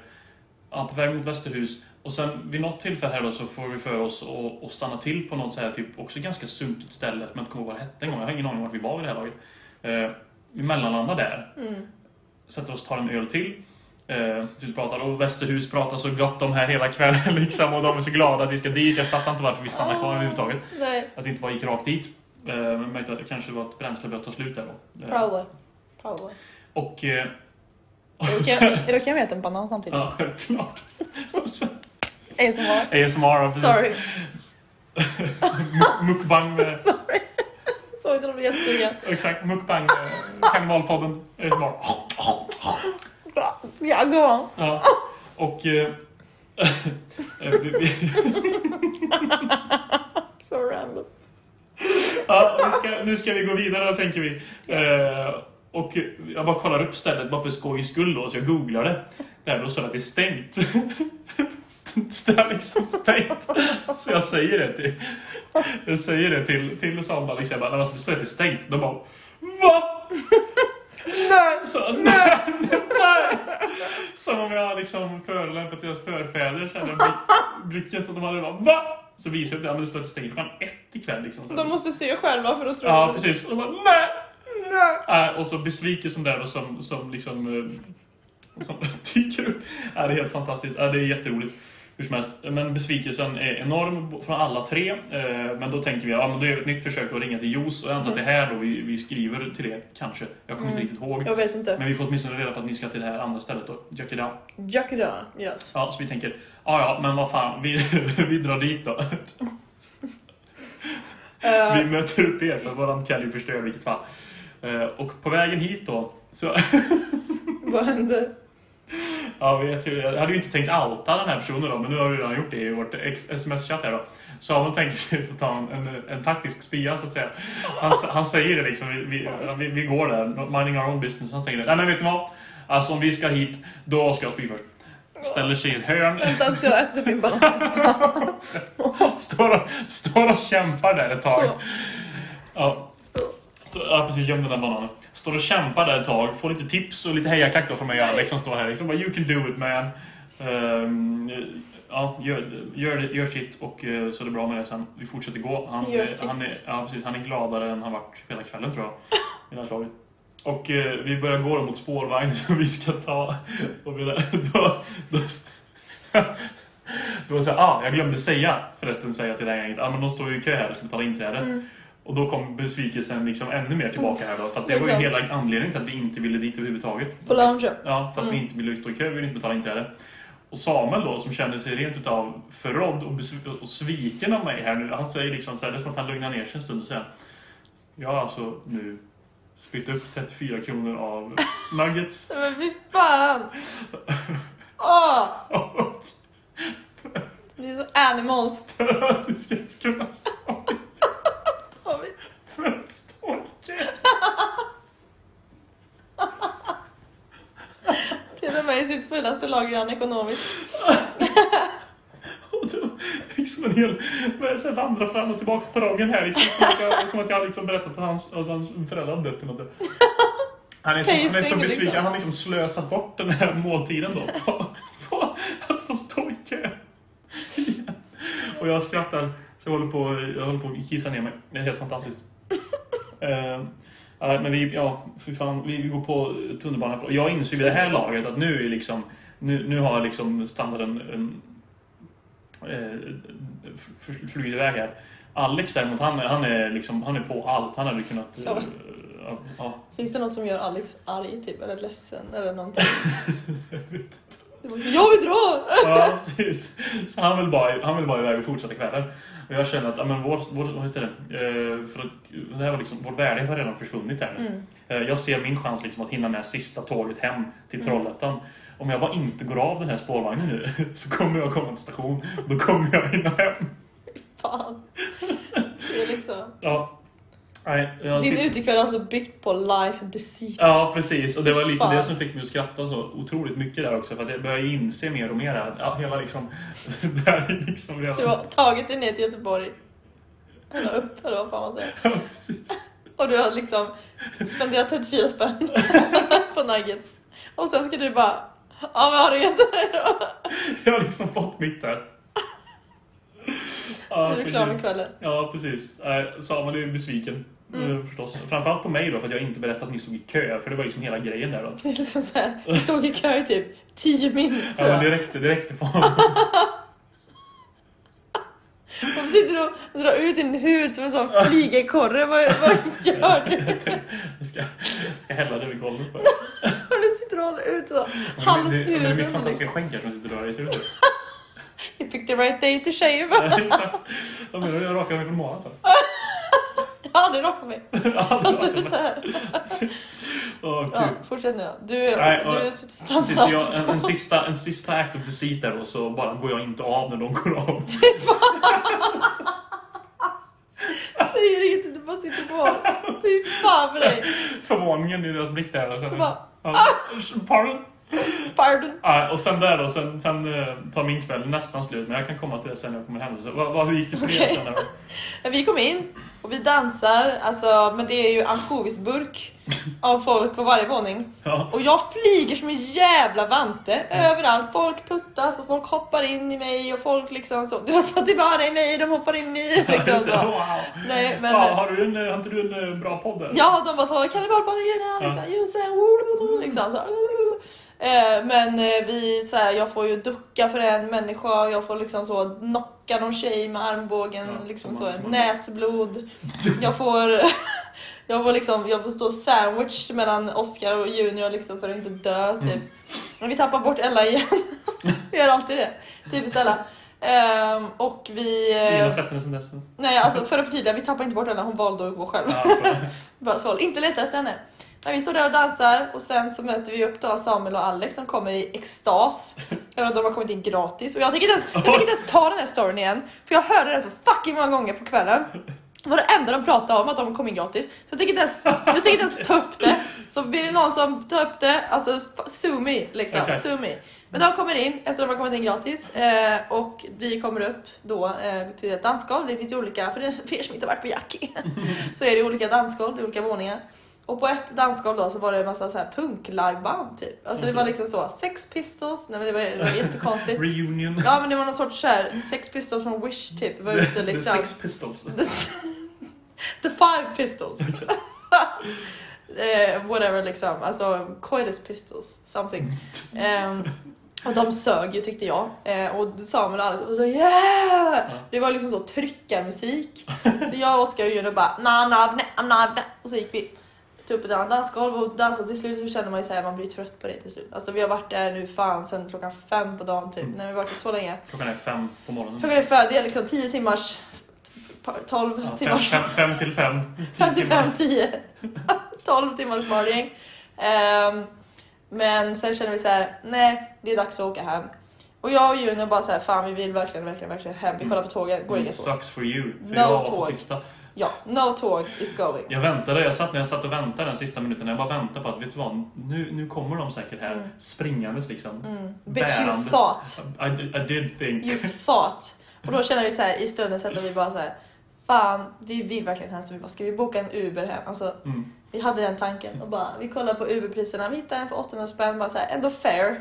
[SPEAKER 1] ja, på väg mot Västerhus och sen vid något tillfälle här då så får vi för oss att, att stanna till på något så här typ också ganska sunkigt ställe som jag inte kommer ihåg vad det hette en gång. Jag har ingen aning om vart vi var vid det här laget. Eh, vi mellanlandar där
[SPEAKER 2] Mm.
[SPEAKER 1] sätter oss och tar en öl till. Eh, tills vi pratar och Västerhus pratar så gott om här hela kvällen <laughs> liksom och de är så glada att vi ska dit. Jag fattar inte varför vi stannar kvar överhuvudtaget.
[SPEAKER 2] Nej.
[SPEAKER 1] Att vi inte bara gick rakt dit. Eh, men jag märkte att det kanske var att bränsle började ta slut där då. Eh,
[SPEAKER 2] Power. Power.
[SPEAKER 1] och... Eh, <laughs> och
[SPEAKER 2] Är det okej-
[SPEAKER 1] sen,
[SPEAKER 2] är det okej om jag äter en banan samtidigt?
[SPEAKER 1] ja, självklart. <laughs> Och sen
[SPEAKER 2] ASMR.
[SPEAKER 1] ASMR, och precis. <laughs>
[SPEAKER 2] Sorry.
[SPEAKER 1] Mukbang
[SPEAKER 2] <laughs>
[SPEAKER 1] med...
[SPEAKER 2] Sorry. Sorry, jag blev jättesugen.
[SPEAKER 1] Exakt, mukbang med Kannibalpodden. ASMR.
[SPEAKER 2] Ja, gå on.
[SPEAKER 1] Ja. Och... Eh, <laughs> eh, vi, vi,
[SPEAKER 2] Så random.
[SPEAKER 1] Ja, nu, ska, nu ska vi gå vidare tänker vi. Eh, och jag bara kollar upp stället bara för skojs skull då, så jag googlar det. Där då står det att det är stängt. <laughs> det är liksom stängt. Så jag säger det till, jag säger det till, till Sandra. Liksom. Jag bara, "Men alltså, det står att det är stängt. De bara, va?
[SPEAKER 2] Nej!
[SPEAKER 1] Så, nej, nej. Som om jag liksom förolämpat deras förfäder. Så här, den blick- blicken som de hade bara, va? Så visar jag att det, ja, men det står att det är stängt klockan ett ikväll. Liksom, så här.
[SPEAKER 2] De måste se själva för att tro
[SPEAKER 1] Ja,
[SPEAKER 2] det.
[SPEAKER 1] precis. Och de bara, nej!
[SPEAKER 2] Nej.
[SPEAKER 1] Äh, och så besvikelsen där då som, som liksom eh, som <laughs> dyker upp. Äh, det är helt fantastiskt. Äh, det är jätteroligt. Hur som helst. Men besvikelsen är enorm bo- från alla tre. Eh, Men då tänker vi ja, men då gör vi ett nytt försök att ringa till Juice och jag antar att det är här då vi, vi skriver till er, kanske. Jag kommer
[SPEAKER 2] Mm.
[SPEAKER 1] inte riktigt ihåg.
[SPEAKER 2] Jag vet inte.
[SPEAKER 1] Men vi får åtminstone reda på att ni ska till det här andra stället då, Jackie Down.
[SPEAKER 2] Jackie Down, yes.
[SPEAKER 1] Ja, så vi tänker, ja ja, men vad fan, vi, <laughs> vi drar dit då.
[SPEAKER 2] Eh,
[SPEAKER 1] Vi möter upp er för våran kväll är ju förstörd i vilket fall. Eh, Och på vägen hit då, så <laughs>
[SPEAKER 2] vad hände?
[SPEAKER 1] Ja, vi vet ju, jag hade ju inte tänkt outa den här personen då, men nu har vi redan gjort det i vårt ex- sms-chatt här då. Samuel tänker sig att ta en, en, en taktisk spia så att säga. Han, s- han säger det liksom, vi, vi, vi, vi går där, minding our own business. Han tänker det, nej men vet ni vad? Alltså om vi ska hit, då ska jag spy först. Ställer sig i ett hörn, <laughs>
[SPEAKER 2] Vänta tills jag äter min banan.
[SPEAKER 1] står och, står och kämpar där ett tag. Ja. Stå- Ja precis, göm den där bananen. Står och kämpar där ett tag, får lite tips och lite hejaklack då från mig och Alex som står här liksom bara You can do it man. Ehm, ja, gör, gör, det- gör sitt och eh, så är det bra med det sen. Vi fortsätter gå. Han,
[SPEAKER 2] Gör
[SPEAKER 1] eh,
[SPEAKER 2] sitt.
[SPEAKER 1] han, är, ja, precis, han är gladare än han varit hela kvällen tror jag.
[SPEAKER 2] <laughs>
[SPEAKER 1] I det här slaget. Och eh, vi börjar gå då mot spårvagn <laughs> som vi ska ta. Och vi, <laughs> då, då, <laughs> då var det så här, ah, jag glömde säga förresten säga till det här gänget, ah, men de står ju i kö här och ska betala inträde.
[SPEAKER 2] Mm.
[SPEAKER 1] Och då kom besvikelsen liksom ännu mer tillbaka här då. För att det var ju
[SPEAKER 2] Liksom.
[SPEAKER 1] hela anledningen till att vi inte ville dit överhuvudtaget.
[SPEAKER 2] På loungen.
[SPEAKER 1] Ja, för att vi inte ville stå i kö, vi ville inte betala inträde. Och Samuel då, som kände sig rent utav förrådd och, besv- och sviken av mig här nu, han säger liksom så här, det är som att han lugnar ner sig en stund och säger Jag har alltså nu spytt upp 34 kronor av nuggets.
[SPEAKER 2] Nej, Men fy fan! Åh!
[SPEAKER 1] Och <laughs>
[SPEAKER 2] Det är så animals.
[SPEAKER 1] för att du ska kunna stå i
[SPEAKER 2] Har vi-
[SPEAKER 1] för att stå i kö.
[SPEAKER 2] Till och med i sitt fullaste lager är han ekonomisk.
[SPEAKER 1] <laughs> Och då liksom en hel... men Sen vandrar fram och tillbaka på dagen här liksom. Som att jag, <laughs> som att jag har liksom berättat att hans, alltså, hans föräldrar har dött eller något. Han är så, han är så
[SPEAKER 2] Pacing,
[SPEAKER 1] besviken.
[SPEAKER 2] liksom.
[SPEAKER 1] Han har liksom slösat bort den här måltiden då. På, <laughs> på att få stå i kö. Igen. Och jag skrattar. Så jag håller på, jag håller på att kissa ner mig. Det är helt fantastiskt. Eh, ja, men vi, ja, för fan, vi, vi går på tunnelbanan. Och Jag inser vid det här laget att nu är liksom, nu, nu har liksom standarden um, eh, flugit iväg här. Alex däremot, han, han, är liksom, han är på allt. Han hade kunnat... eh,
[SPEAKER 2] Ja.
[SPEAKER 1] ja, ja.
[SPEAKER 2] Finns det något som gör Alex arg typ, eller ledsen eller någonting?
[SPEAKER 1] <laughs>
[SPEAKER 2] Det var så, jag vill dra!
[SPEAKER 1] Ja, <laughs> precis. Så han vill bara, han vill bara iväg och fortsätta kvällen. Och jag känner att, ja men vår, vår, vad heter det? Eh, för att, det här var liksom, vår värdighet har redan försvunnit här nu.
[SPEAKER 2] Mm.
[SPEAKER 1] Eh, jag ser min chans liksom att hinna med sista tåget hem till Trollhättan. Om jag bara inte går av den här spårvagnen nu <laughs> så kommer jag komma till station. Då kommer jag hinna hem. <laughs>
[SPEAKER 2] Fan. Det är liksom...
[SPEAKER 1] Ja. Nej, jag
[SPEAKER 2] Din
[SPEAKER 1] sitter-
[SPEAKER 2] utekväll är alltså byggt på lies and deceit.
[SPEAKER 1] Ja, precis. Och det var lite
[SPEAKER 2] Fan.
[SPEAKER 1] det som fick mig att skratta så otroligt mycket där också. För att jag började inse mer och mer här. Ja, hela liksom... <laughs> Det här är liksom redan...
[SPEAKER 2] Du har tagit dig ner till Göteborg. Eller upp, eller vad fan man säger.
[SPEAKER 1] <laughs> Ja, precis.
[SPEAKER 2] Och du har liksom spenderat 34 spänn <laughs> på nuggets. Och sen ska du bara... Ja, vad har du <laughs> gett dig då?
[SPEAKER 1] Jag har liksom fått mitt där. Ja,
[SPEAKER 2] Nu är
[SPEAKER 1] så
[SPEAKER 2] du klar
[SPEAKER 1] det-
[SPEAKER 2] med kvällen.
[SPEAKER 1] Ja, precis. Nej, Samuel är ju besviken.
[SPEAKER 2] Mm.
[SPEAKER 1] eh, Förstås. Framförallt på mig då, för att jag inte berättat att ni stod i kö. För det var liksom hela grejen där då.
[SPEAKER 2] Det är liksom såhär, vi stod i kö i typ 10 min
[SPEAKER 1] Ja,
[SPEAKER 2] tror
[SPEAKER 1] men
[SPEAKER 2] jag.
[SPEAKER 1] det räckte, det räckte för honom.
[SPEAKER 2] Varför sitter du och drar ut din hud som en sån flygekorre? Vad, vad gör du?
[SPEAKER 1] <laughs> <laughs> Jag tänkte, jag ska, jag ska hälla det vid
[SPEAKER 2] <laughs>
[SPEAKER 1] golvet bara.
[SPEAKER 2] Och du sitter och håller ut så
[SPEAKER 1] Men Det, det, det är mitt
[SPEAKER 2] halshuden.
[SPEAKER 1] fantastiska skägg här som sitter och rör i sig. vet du.
[SPEAKER 2] You picked the right day to shave.
[SPEAKER 1] Ja, Exakt. Jag menar, jag rakade mig från morgonen
[SPEAKER 2] <laughs>
[SPEAKER 1] sen.
[SPEAKER 2] Jag har aldrig rockat mig.
[SPEAKER 1] Ja, det
[SPEAKER 2] Och så
[SPEAKER 1] var
[SPEAKER 2] är det
[SPEAKER 1] det.
[SPEAKER 2] såhär.
[SPEAKER 1] Åh,
[SPEAKER 2] Ja,
[SPEAKER 1] kul.
[SPEAKER 2] fortsätt nu då. Du,
[SPEAKER 1] Nej,
[SPEAKER 2] är-
[SPEAKER 1] och-
[SPEAKER 2] du är så standard.
[SPEAKER 1] Precis, så jag, en, en, sista, en sista act of deceit där och så bara går jag inte av när de går av. <laughs>
[SPEAKER 2] Säger inget, du bara sitter
[SPEAKER 1] <laughs>
[SPEAKER 2] kvar. Fy fan för dig.
[SPEAKER 1] Förvåningen i deras blick där. Och sen,
[SPEAKER 2] Så bara, ah!
[SPEAKER 1] ja, pardon?
[SPEAKER 2] Pardon.
[SPEAKER 1] Ja, och sen där då, sen, sen eh, tar min kväll nästan slut, men jag kan komma till det sen när jag kommer hem. Så, vad, vad, hur gick det för er
[SPEAKER 2] Okej.
[SPEAKER 1] sen? Då? <laughs>
[SPEAKER 2] Men vi kom in och vi dansar, alltså, men det är ju ansjovisburk av folk på varje våning.
[SPEAKER 1] Ja.
[SPEAKER 2] Och jag flyger som en jävla vante överallt. Folk puttas och folk hoppar in i mig och folk liksom så. Det var så att det bara är mig de hoppar in i.
[SPEAKER 1] <laughs> Ja,
[SPEAKER 2] <laughs> Liksom
[SPEAKER 1] just det.
[SPEAKER 2] så.
[SPEAKER 1] Wow.
[SPEAKER 2] Nej, men,
[SPEAKER 1] Ja, har, du en, eh, har inte du en eh, bra podd där?
[SPEAKER 2] Ja, de bara så kannibalbanan,
[SPEAKER 1] Ja.
[SPEAKER 2] liksom, just det, oh, liksom så. Eh, Men eh, vi, så här, jag får ju ducka för en människa och jag får liksom så knocka någon tjej med armbågen,
[SPEAKER 1] Ja,
[SPEAKER 2] liksom
[SPEAKER 1] som
[SPEAKER 2] så,
[SPEAKER 1] man- man-
[SPEAKER 2] näsblod. Jag får, <laughs> jag får liksom, jag får stå sandwich mellan Oscar och Junior liksom för att inte dö typ.
[SPEAKER 1] Mm.
[SPEAKER 2] Men vi tappar bort Ella
[SPEAKER 1] <laughs>
[SPEAKER 2] igen. vi gör alltid det. Typiskt Ella. Ehm, och vi...
[SPEAKER 1] Ingen
[SPEAKER 2] eh,
[SPEAKER 1] har sett henne
[SPEAKER 2] <laughs>
[SPEAKER 1] sen dess.
[SPEAKER 2] Nej, alltså för att förtydliga, vi tappar inte bort Ella, hon valde att gå själv.
[SPEAKER 1] Ja, bra.
[SPEAKER 2] Bara så, inte leta efter henne. Men vi står där och dansar och sen så möter vi upp då Samuel och Alex som kommer i extas. Över att de har kommit in gratis. Och jag tänker inte ens, jag tänker inte ens ta den här storyn igen. För jag hörde den så fucking många gånger på kvällen. Det var det enda de pratade om, att de kom in gratis. Så jag tänker inte ens, jag tänker inte ens ta upp det. Så blir det någon som tar upp det, alltså sue me liksom.
[SPEAKER 1] Exakt.
[SPEAKER 2] Sue me. Men de kommer in efter att de har kommit in gratis. Eh, och vi kommer upp då eh, till ett dansgolv. Det finns ju olika, för, det, för er som inte har varit på Jackie så är det olika dansgolv, det är olika våningar. Och på ett dansgolv då så var det en massa så här punk-liveband typ. Alltså det var liksom så, Sex Pistols, nej men det var, det var
[SPEAKER 1] <laughs>
[SPEAKER 2] jättekonstigt.
[SPEAKER 1] Reunion.
[SPEAKER 2] Ja men det var någon sorts så här, Sex Pistols från Wish typ. Var ute
[SPEAKER 1] The <laughs>
[SPEAKER 2] liksom.
[SPEAKER 1] Sex Pistols.
[SPEAKER 2] <laughs> The, s- the Five Pistols. <laughs> eh, whatever liksom, alltså Coitus Pistols, something. Ehm,
[SPEAKER 1] <laughs>
[SPEAKER 2] och de sög ju tyckte jag. Eh, och Samuel och Alex var så yeah! Det var liksom så tryckarmusik. Så jag, Oskar och Juno bara na na na na na och så gick vi till upp ett annat dansgolv och dansade till slut så kände man ju såhär, man blir trött på det till slut. Alltså vi har varit där nu fan sen klockan fem på dagen typ.
[SPEAKER 1] Mm.
[SPEAKER 2] Nej vi har varit där så länge.
[SPEAKER 1] Klockan är fem på morgonen.
[SPEAKER 2] Klockan är för, det är liksom 10 timmars, 12
[SPEAKER 1] Ja, fem,
[SPEAKER 2] timmars,
[SPEAKER 1] fem, fem till fem. Tio
[SPEAKER 2] 55,
[SPEAKER 1] timmar.
[SPEAKER 2] <laughs> 10, 12 timmars bargäng. Ehm, men sen känner vi så här, nej det är dags att åka hem. Och jag och Juno bara så här, fan vi vill verkligen, verkligen, verkligen hem. Vi kollar på tågen, går
[SPEAKER 1] Mm,
[SPEAKER 2] inga tåg.
[SPEAKER 1] Sucks for you. För
[SPEAKER 2] No
[SPEAKER 1] jag var på
[SPEAKER 2] tåg.
[SPEAKER 1] sista.
[SPEAKER 2] Ja, no tåg is going.
[SPEAKER 1] Jag väntade, jag satt, när jag satt och väntade den sista minuten, jag bara väntade på att vet du vad, nu, nu kommer de säkert här
[SPEAKER 2] Mm.
[SPEAKER 1] springandes liksom.
[SPEAKER 2] Mm. Bitch you
[SPEAKER 1] Bärandes.
[SPEAKER 2] thought.
[SPEAKER 1] I, I did think.
[SPEAKER 2] You thought. Och då känner vi så här i stunden så att vi bara så här, fan vi vill verkligen hem så vi bara, ska vi boka en Uber hem? Alltså
[SPEAKER 1] Mm.
[SPEAKER 2] Vi hade den tanken och bara, vi kollar på Uberpriserna, vi hittar en för 800 spänn, bara så här, ändå fair. A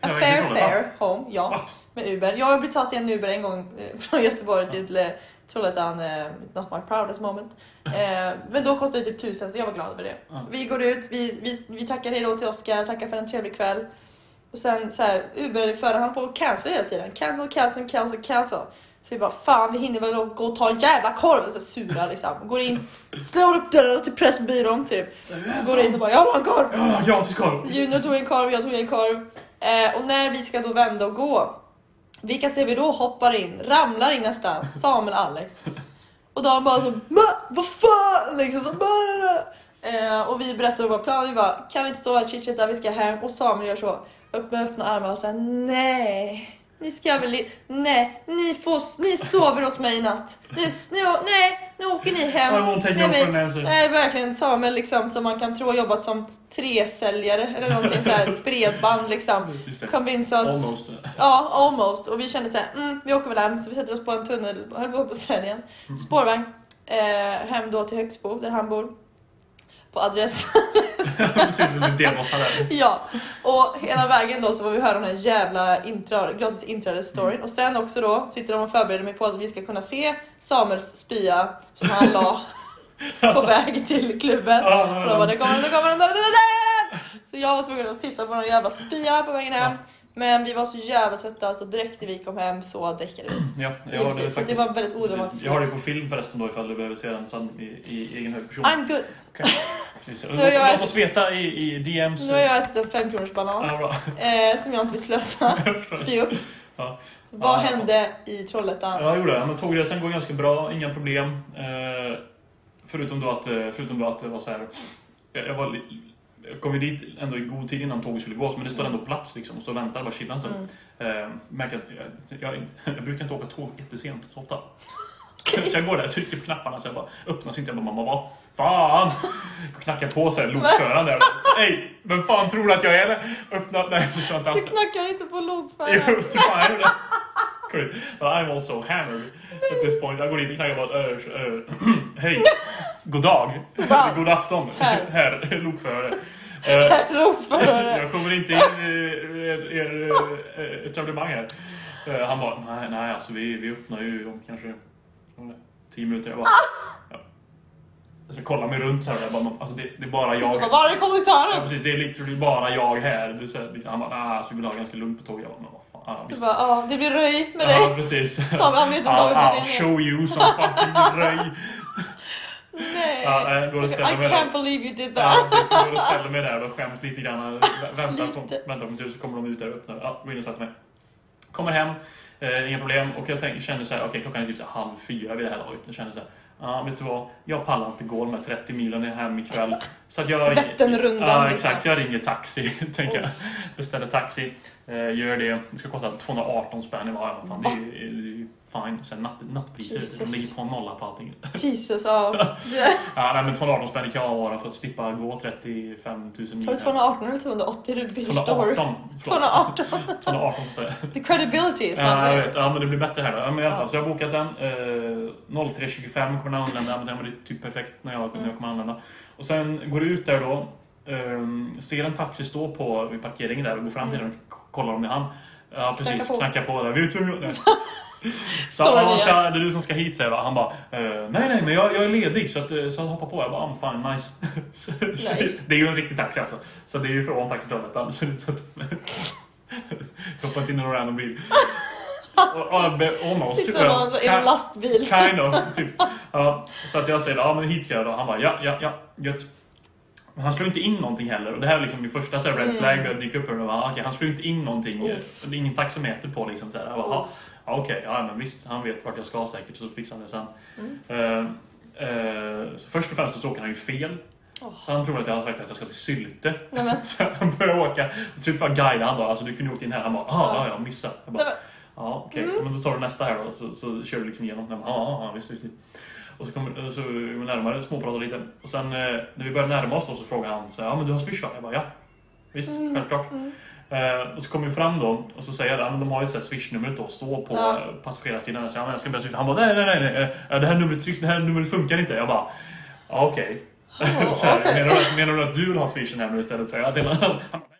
[SPEAKER 1] Ja, vilken
[SPEAKER 2] fair
[SPEAKER 1] fråga.
[SPEAKER 2] fair home, ja,
[SPEAKER 1] What?
[SPEAKER 2] med Uber. Jag har blivit tagen i en Uber en gång eh, från Göteborg till eh, Trollhättan, eh, not my proudest moment. Eh, men då kostade det typ 1000 så jag var glad över det.
[SPEAKER 1] Ja.
[SPEAKER 2] Vi går ut, vi, vi, vi tackar hej då till Oskar, tackar för en trevlig kväll. Och sen så här, Uber föraren han på och cancel hela tiden. Cancel, cancel, cancel, cancel. Så vi bara fan vi hinner väl gå och ta en jävla korv. Så sura liksom. Går in, slår upp dörren till Pressbyrån typ. Går in och bara jag vill ha en korv.
[SPEAKER 1] Ja, gratis korv!
[SPEAKER 2] Juno tog en korv, jag tog en korv. Eh, och när vi ska då vända och gå. Vilka ser vi då hoppar in, ramlar in nästan. Samuel och Alex. Och de bara så "Ma, vad fan liksom. Så, "Ma, ma, ma." eh, och vi berättar vår plan, vi bara kan inte stå här och chitchatta, vi ska hem. Och Samuel gör så, upp med öppna armar och säger nej. Ni ska väl i- nej, ni, får, ni sover hos mig i natt. Nu, nu, nej, nu åker ni
[SPEAKER 1] I
[SPEAKER 2] hem.
[SPEAKER 1] won't take
[SPEAKER 2] Nej,
[SPEAKER 1] no
[SPEAKER 2] men-
[SPEAKER 1] for an answer.
[SPEAKER 2] Nej, verkligen Samuel liksom, som man kan tro har jobbat som tresäljare eller någonting så här bredband liksom.
[SPEAKER 1] Just det.
[SPEAKER 2] Convince us.
[SPEAKER 1] Almost. <laughs>
[SPEAKER 2] Ja, almost. Och vi kände så här, mm, vi åker väl hem. Så vi sätter oss på en tunnel, höll på att säga det igen. Spårvagn. Eh, hem då till Högsbo, där han bor. På adress. <laughs>
[SPEAKER 1] Precis som du delbossar där.
[SPEAKER 2] ja. Och hela vägen då så får vi höra den här jävla intra, gratis inträdesstoryn. Och sen också då sitter de och förbereder mig på att vi ska kunna se Samuels spya som han la på väg till klubben.
[SPEAKER 1] Alltså. Ja,
[SPEAKER 2] Och de bara, nu kommer den,
[SPEAKER 1] ja,
[SPEAKER 2] nu kommer den, där, där, där, där. Så jag var tvungen att titta på någon jävla spya på vägen hem. Men vi var så jävla trötta så direkt när vi kom hem så däckade vi.
[SPEAKER 1] ja,
[SPEAKER 2] Det,
[SPEAKER 1] jag har det
[SPEAKER 2] precis, så det var
[SPEAKER 1] faktiskt.
[SPEAKER 2] väldigt odramatiskt.
[SPEAKER 1] Jag har det på film förresten då ifall du behöver se den sen i, i egen hög person.
[SPEAKER 2] I'm good.
[SPEAKER 1] Precis.
[SPEAKER 2] Nu har
[SPEAKER 1] Låt,
[SPEAKER 2] jag-
[SPEAKER 1] låt oss veta i, i DMs.
[SPEAKER 2] Nu har jag ätit en femkronorsbanan
[SPEAKER 1] Ja, bra. <laughs>
[SPEAKER 2] eh, som jag inte vill slösa. Spy upp.
[SPEAKER 1] Ja.
[SPEAKER 2] Vad
[SPEAKER 1] Ja.
[SPEAKER 2] hände i Trollhättan?
[SPEAKER 1] Ja, jag gjorde det. Men tågresan går ganska bra, inga problem. Eh, förutom, då att, eh, förutom då att det var så här... Jag, jag, var, li- jag kom ju dit ändå i god tid innan tåget skulle gå, men det stod ändå plats liksom. Och stod och väntade bara chilla en stund.
[SPEAKER 2] Mm.
[SPEAKER 1] Eh, märker att jag, jag, <laughs> jag brukar inte åka tåg jättesent så ofta. Så jag går där, jag trycker på knapparna så jag bara öppnas inte. Jag bara mamma vad fan! Knackar på sig lokföraren där. Hej, vem fan tror du att jag är? Där? Öppna, nej, det tror jag inte
[SPEAKER 2] Du
[SPEAKER 1] alls.
[SPEAKER 2] knackar inte på lokföraren.
[SPEAKER 1] Jo, till fan jag gjorde det. Great. But I'm also hammered at this point. Jag går dit och knackar på. Uh, <clears throat> Hej, god dag.
[SPEAKER 2] God dag.
[SPEAKER 1] God afton. <laughs>
[SPEAKER 2] Herr.
[SPEAKER 1] Herr lokförare. Eh,
[SPEAKER 2] <laughs> Lokförare.
[SPEAKER 1] jag kommer inte in i ert- er eh, etablimang här. Eh, Han bara, nej, nej alltså vi, vi öppnar ju om kanske vad var det, tio minuter. Jag bara,
[SPEAKER 2] Ah!
[SPEAKER 1] ja. Så kollar mig runt så här, jag bara, "Men, alltså det, det är bara
[SPEAKER 2] Så bara,
[SPEAKER 1] jag.
[SPEAKER 2] var är
[SPEAKER 1] Ja,
[SPEAKER 2] konduktören?
[SPEAKER 1] precis, det är literally bara jag här. Det är så här liksom, han bara, nej alltså vi vill ha ganska lugnt på tåget. Jag bara, men vad fan. Ja,
[SPEAKER 2] Så
[SPEAKER 1] visst.
[SPEAKER 2] bara, ja, det blir röjt med
[SPEAKER 1] Ja,
[SPEAKER 2] dig.
[SPEAKER 1] precis.
[SPEAKER 2] Ta mig, han vet inte om vi
[SPEAKER 1] I'll, I'll
[SPEAKER 2] blir
[SPEAKER 1] show you som fucking röj.
[SPEAKER 2] Nej.
[SPEAKER 1] Ja, nej, går och
[SPEAKER 2] I
[SPEAKER 1] ställer mig där.
[SPEAKER 2] can't believe you did
[SPEAKER 1] Ja,
[SPEAKER 2] that.
[SPEAKER 1] precis. Jag går och ställer mig där och skäms lite grann. Vä- Väntar på,
[SPEAKER 2] Lite.
[SPEAKER 1] väntar på min tur så kommer de ut där och öppnar. Ja, går in och sätter mig. Kommer hem, eh, inga problem. Och jag tänker, känner så här, okej klockan är typ så här halv fyra vid det här laget. Jag känner så här, ja vet du vad? Jag pallar inte gå de här 30 milen hem ikväll. Så att jag...
[SPEAKER 2] Vätternrundan,
[SPEAKER 1] Ja,
[SPEAKER 2] liksom.
[SPEAKER 1] exakt. Så jag ringer taxi, <laughs> tänker jag. Beställer taxi, eh, gör det. Det ska kosta 218 spänn. Jag bara, ja, fan, det är det är ju fine. Sen natt, nattpriser, de
[SPEAKER 2] Jesus.
[SPEAKER 1] ligger på en nolla på allting.
[SPEAKER 2] Jesus,
[SPEAKER 1] <laughs>
[SPEAKER 2] ja.
[SPEAKER 1] Ja, nej, men 218 spänn kan jag vara för att slippa gå 35 000 mil.
[SPEAKER 2] Har du 218 eller 280? Du blir stor.
[SPEAKER 1] 218.
[SPEAKER 2] <laughs>
[SPEAKER 1] förlåt.
[SPEAKER 2] 218.
[SPEAKER 1] 218 står det.
[SPEAKER 2] The credibility is
[SPEAKER 1] Ja, jag
[SPEAKER 2] not
[SPEAKER 1] vet. Ja, men det blir bättre här då. Ja, men i alla
[SPEAKER 2] Ja.
[SPEAKER 1] fall, så jag har bokat den. Eh, 03.25 kommer den anlända. Ja, men Den var typ perfekt när jag, när jag kommer anlända. Och sen går du ut där då. ehm, ser en taxi stå på vid parkeringen där och går fram till den och kollar om det är han. Ja, precis.
[SPEAKER 2] Knackar på.
[SPEAKER 1] Knackar på där. Vet du vem
[SPEAKER 2] <laughs>
[SPEAKER 1] jag är? Så
[SPEAKER 2] Står
[SPEAKER 1] han,
[SPEAKER 2] det
[SPEAKER 1] tja, det är du som ska hit säger jag. Han bara, eh, nej nej men jag, jag är ledig så, att, eh, så hoppa på. Jag bara, ah, men fine, nice. <laughs> så, så,
[SPEAKER 2] Nej.
[SPEAKER 1] det är ju en riktig taxi alltså. Så det är ju från taxidramat. <laughs> Så, så att, hoppa inte in i någon
[SPEAKER 2] <laughs>
[SPEAKER 1] random bil. Och, och, be- almost.
[SPEAKER 2] Sitter någon så- i en lastbil.
[SPEAKER 1] Kind of, typ. Ja, så att jag säger, ja men hit ska jag då. Han bara, ja, ja, ja, gött. Men Han slår inte in någonting heller. Och det här är liksom min första så här, red flag där jag dyker upp. Och jag bara, "Ah, okej, han slår inte in någonting.
[SPEAKER 2] Mm.
[SPEAKER 1] eh,
[SPEAKER 2] Uff.
[SPEAKER 1] Det är ingen taxameter på liksom. Så här. Jag bara,
[SPEAKER 2] Uff.
[SPEAKER 1] "Ja, ja, okej, ja men visst, han vet vart jag ska säkert. Så fixar han det sen.
[SPEAKER 2] Mm.
[SPEAKER 1] Eh, eh, så först och främst så åker han ju fel.
[SPEAKER 2] Åh.
[SPEAKER 1] Så han tror att jag har sagt att jag ska till Sylte.
[SPEAKER 2] Nej, men,
[SPEAKER 1] <laughs> Så han börjar åka. Jag försökte bara guida han då. Alltså du kunde åkt in här. Han bara, ah, ja, jag missade. Jag bara,
[SPEAKER 2] nej, men,
[SPEAKER 1] Ja, okej.
[SPEAKER 2] Mm.
[SPEAKER 1] Men då tar du nästa här då, så, så kör du liksom igenom. Ja, ja, ja, visst, visst. Och så kommer så är vi närmare, småpratar lite. Och sen eh, när vi börjar närma oss då så frågar han så här, ja men du har Swish va? Jag bara, ja. Visst,
[SPEAKER 2] Mm,
[SPEAKER 1] självklart. Eh, och så kommer vi fram då och så säger jag, ja, men de har ju så här Swish-numret då, stå på
[SPEAKER 2] Ja.
[SPEAKER 1] eh, passagerarsidan. Jag säger, ja men jag ska börja swisha. Han bara, nej, nej, nej, nej. eh, Det här numret, Swish- det här numret funkar inte. Jag bara, ja okej.
[SPEAKER 2] Ja,
[SPEAKER 1] <laughs> Så här,
[SPEAKER 2] okej.
[SPEAKER 1] menar, du att- menar du att du vill ha Swishen här nu istället? Säger jag till honom. Han bara, <laughs>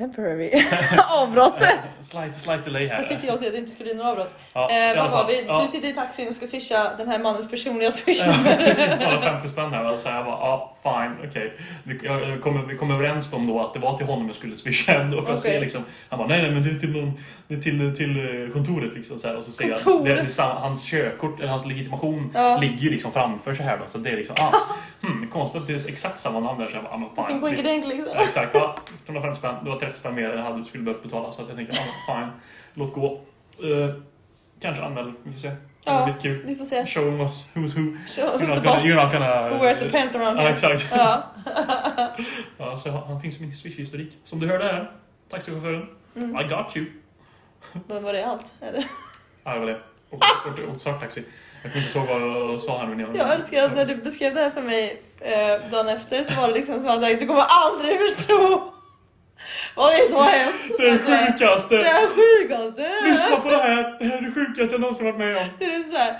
[SPEAKER 2] Temporary avbrott.
[SPEAKER 1] Slight, slight delay här.
[SPEAKER 2] Här sitter jag och säger att det inte ska bli några avbrott.
[SPEAKER 1] Ja, i
[SPEAKER 2] eh,
[SPEAKER 1] alla
[SPEAKER 2] vad var
[SPEAKER 1] fall.
[SPEAKER 2] vi?
[SPEAKER 1] Ja.
[SPEAKER 2] Du sitter i taxin och ska swisha den här mannens personliga swish
[SPEAKER 1] Ja, precis, bara 50 spänn här. va. Så jag bara, ja, fine, okej. Vi, jag- jag kom, vi kom överens om då att det var till honom jag skulle swisha ändå. För att
[SPEAKER 2] Okej.
[SPEAKER 1] se liksom, han bara, nej, nej, men det är till, någon, det är till, till eh, kontoret liksom. Så här, och så ser jag,
[SPEAKER 2] Kontoret?
[SPEAKER 1] det, det, är sam- hans körkort, eller hans legitimation,
[SPEAKER 2] Ja.
[SPEAKER 1] ligger ju liksom framför så här då. Så det är liksom,
[SPEAKER 2] <laughs>
[SPEAKER 1] ah, hmm, konstigt att det är exakt samma namn där. Så jag bara, ah, men fine. visst.
[SPEAKER 2] Coinkidink
[SPEAKER 1] Ja,
[SPEAKER 2] liksom.
[SPEAKER 1] exakt, ja, 250 spänn. Det var 30 spänn mer än jag hade skulle behövt betala. Så att jag tänkte, ah, fine, låt gå. Eh, kanske anmäl, vi får se. Det
[SPEAKER 2] Ja.
[SPEAKER 1] blir lite kul.
[SPEAKER 2] Vi får se.
[SPEAKER 1] Show us who's who.
[SPEAKER 2] Show
[SPEAKER 1] You're not
[SPEAKER 2] the
[SPEAKER 1] gonna,
[SPEAKER 2] ball.
[SPEAKER 1] you're not gonna...
[SPEAKER 2] Who wears the pants around
[SPEAKER 1] Ja,
[SPEAKER 2] here?
[SPEAKER 1] exakt.
[SPEAKER 2] Ja.
[SPEAKER 1] Ja, så han, han finns i min Swish-historik. Som du hörde här, taxichauffören.
[SPEAKER 2] Mm.
[SPEAKER 1] I got you.
[SPEAKER 2] Men var det allt? Eller?
[SPEAKER 1] Ja, det var det. Och, och, och svart taxi. Jag kommer inte ihåg vad jag sa här nu. när
[SPEAKER 2] Jag älskar att när du beskrev det här för mig eh, dagen efter så var det liksom som att du kommer aldrig förstå vad det är som har hänt.
[SPEAKER 1] Det är
[SPEAKER 2] Alltså,
[SPEAKER 1] det sjukaste!
[SPEAKER 2] Det är sjukaste!
[SPEAKER 1] Lyssna på det här! Det här är det sjukaste jag någonsin varit med om.
[SPEAKER 2] Det är så här,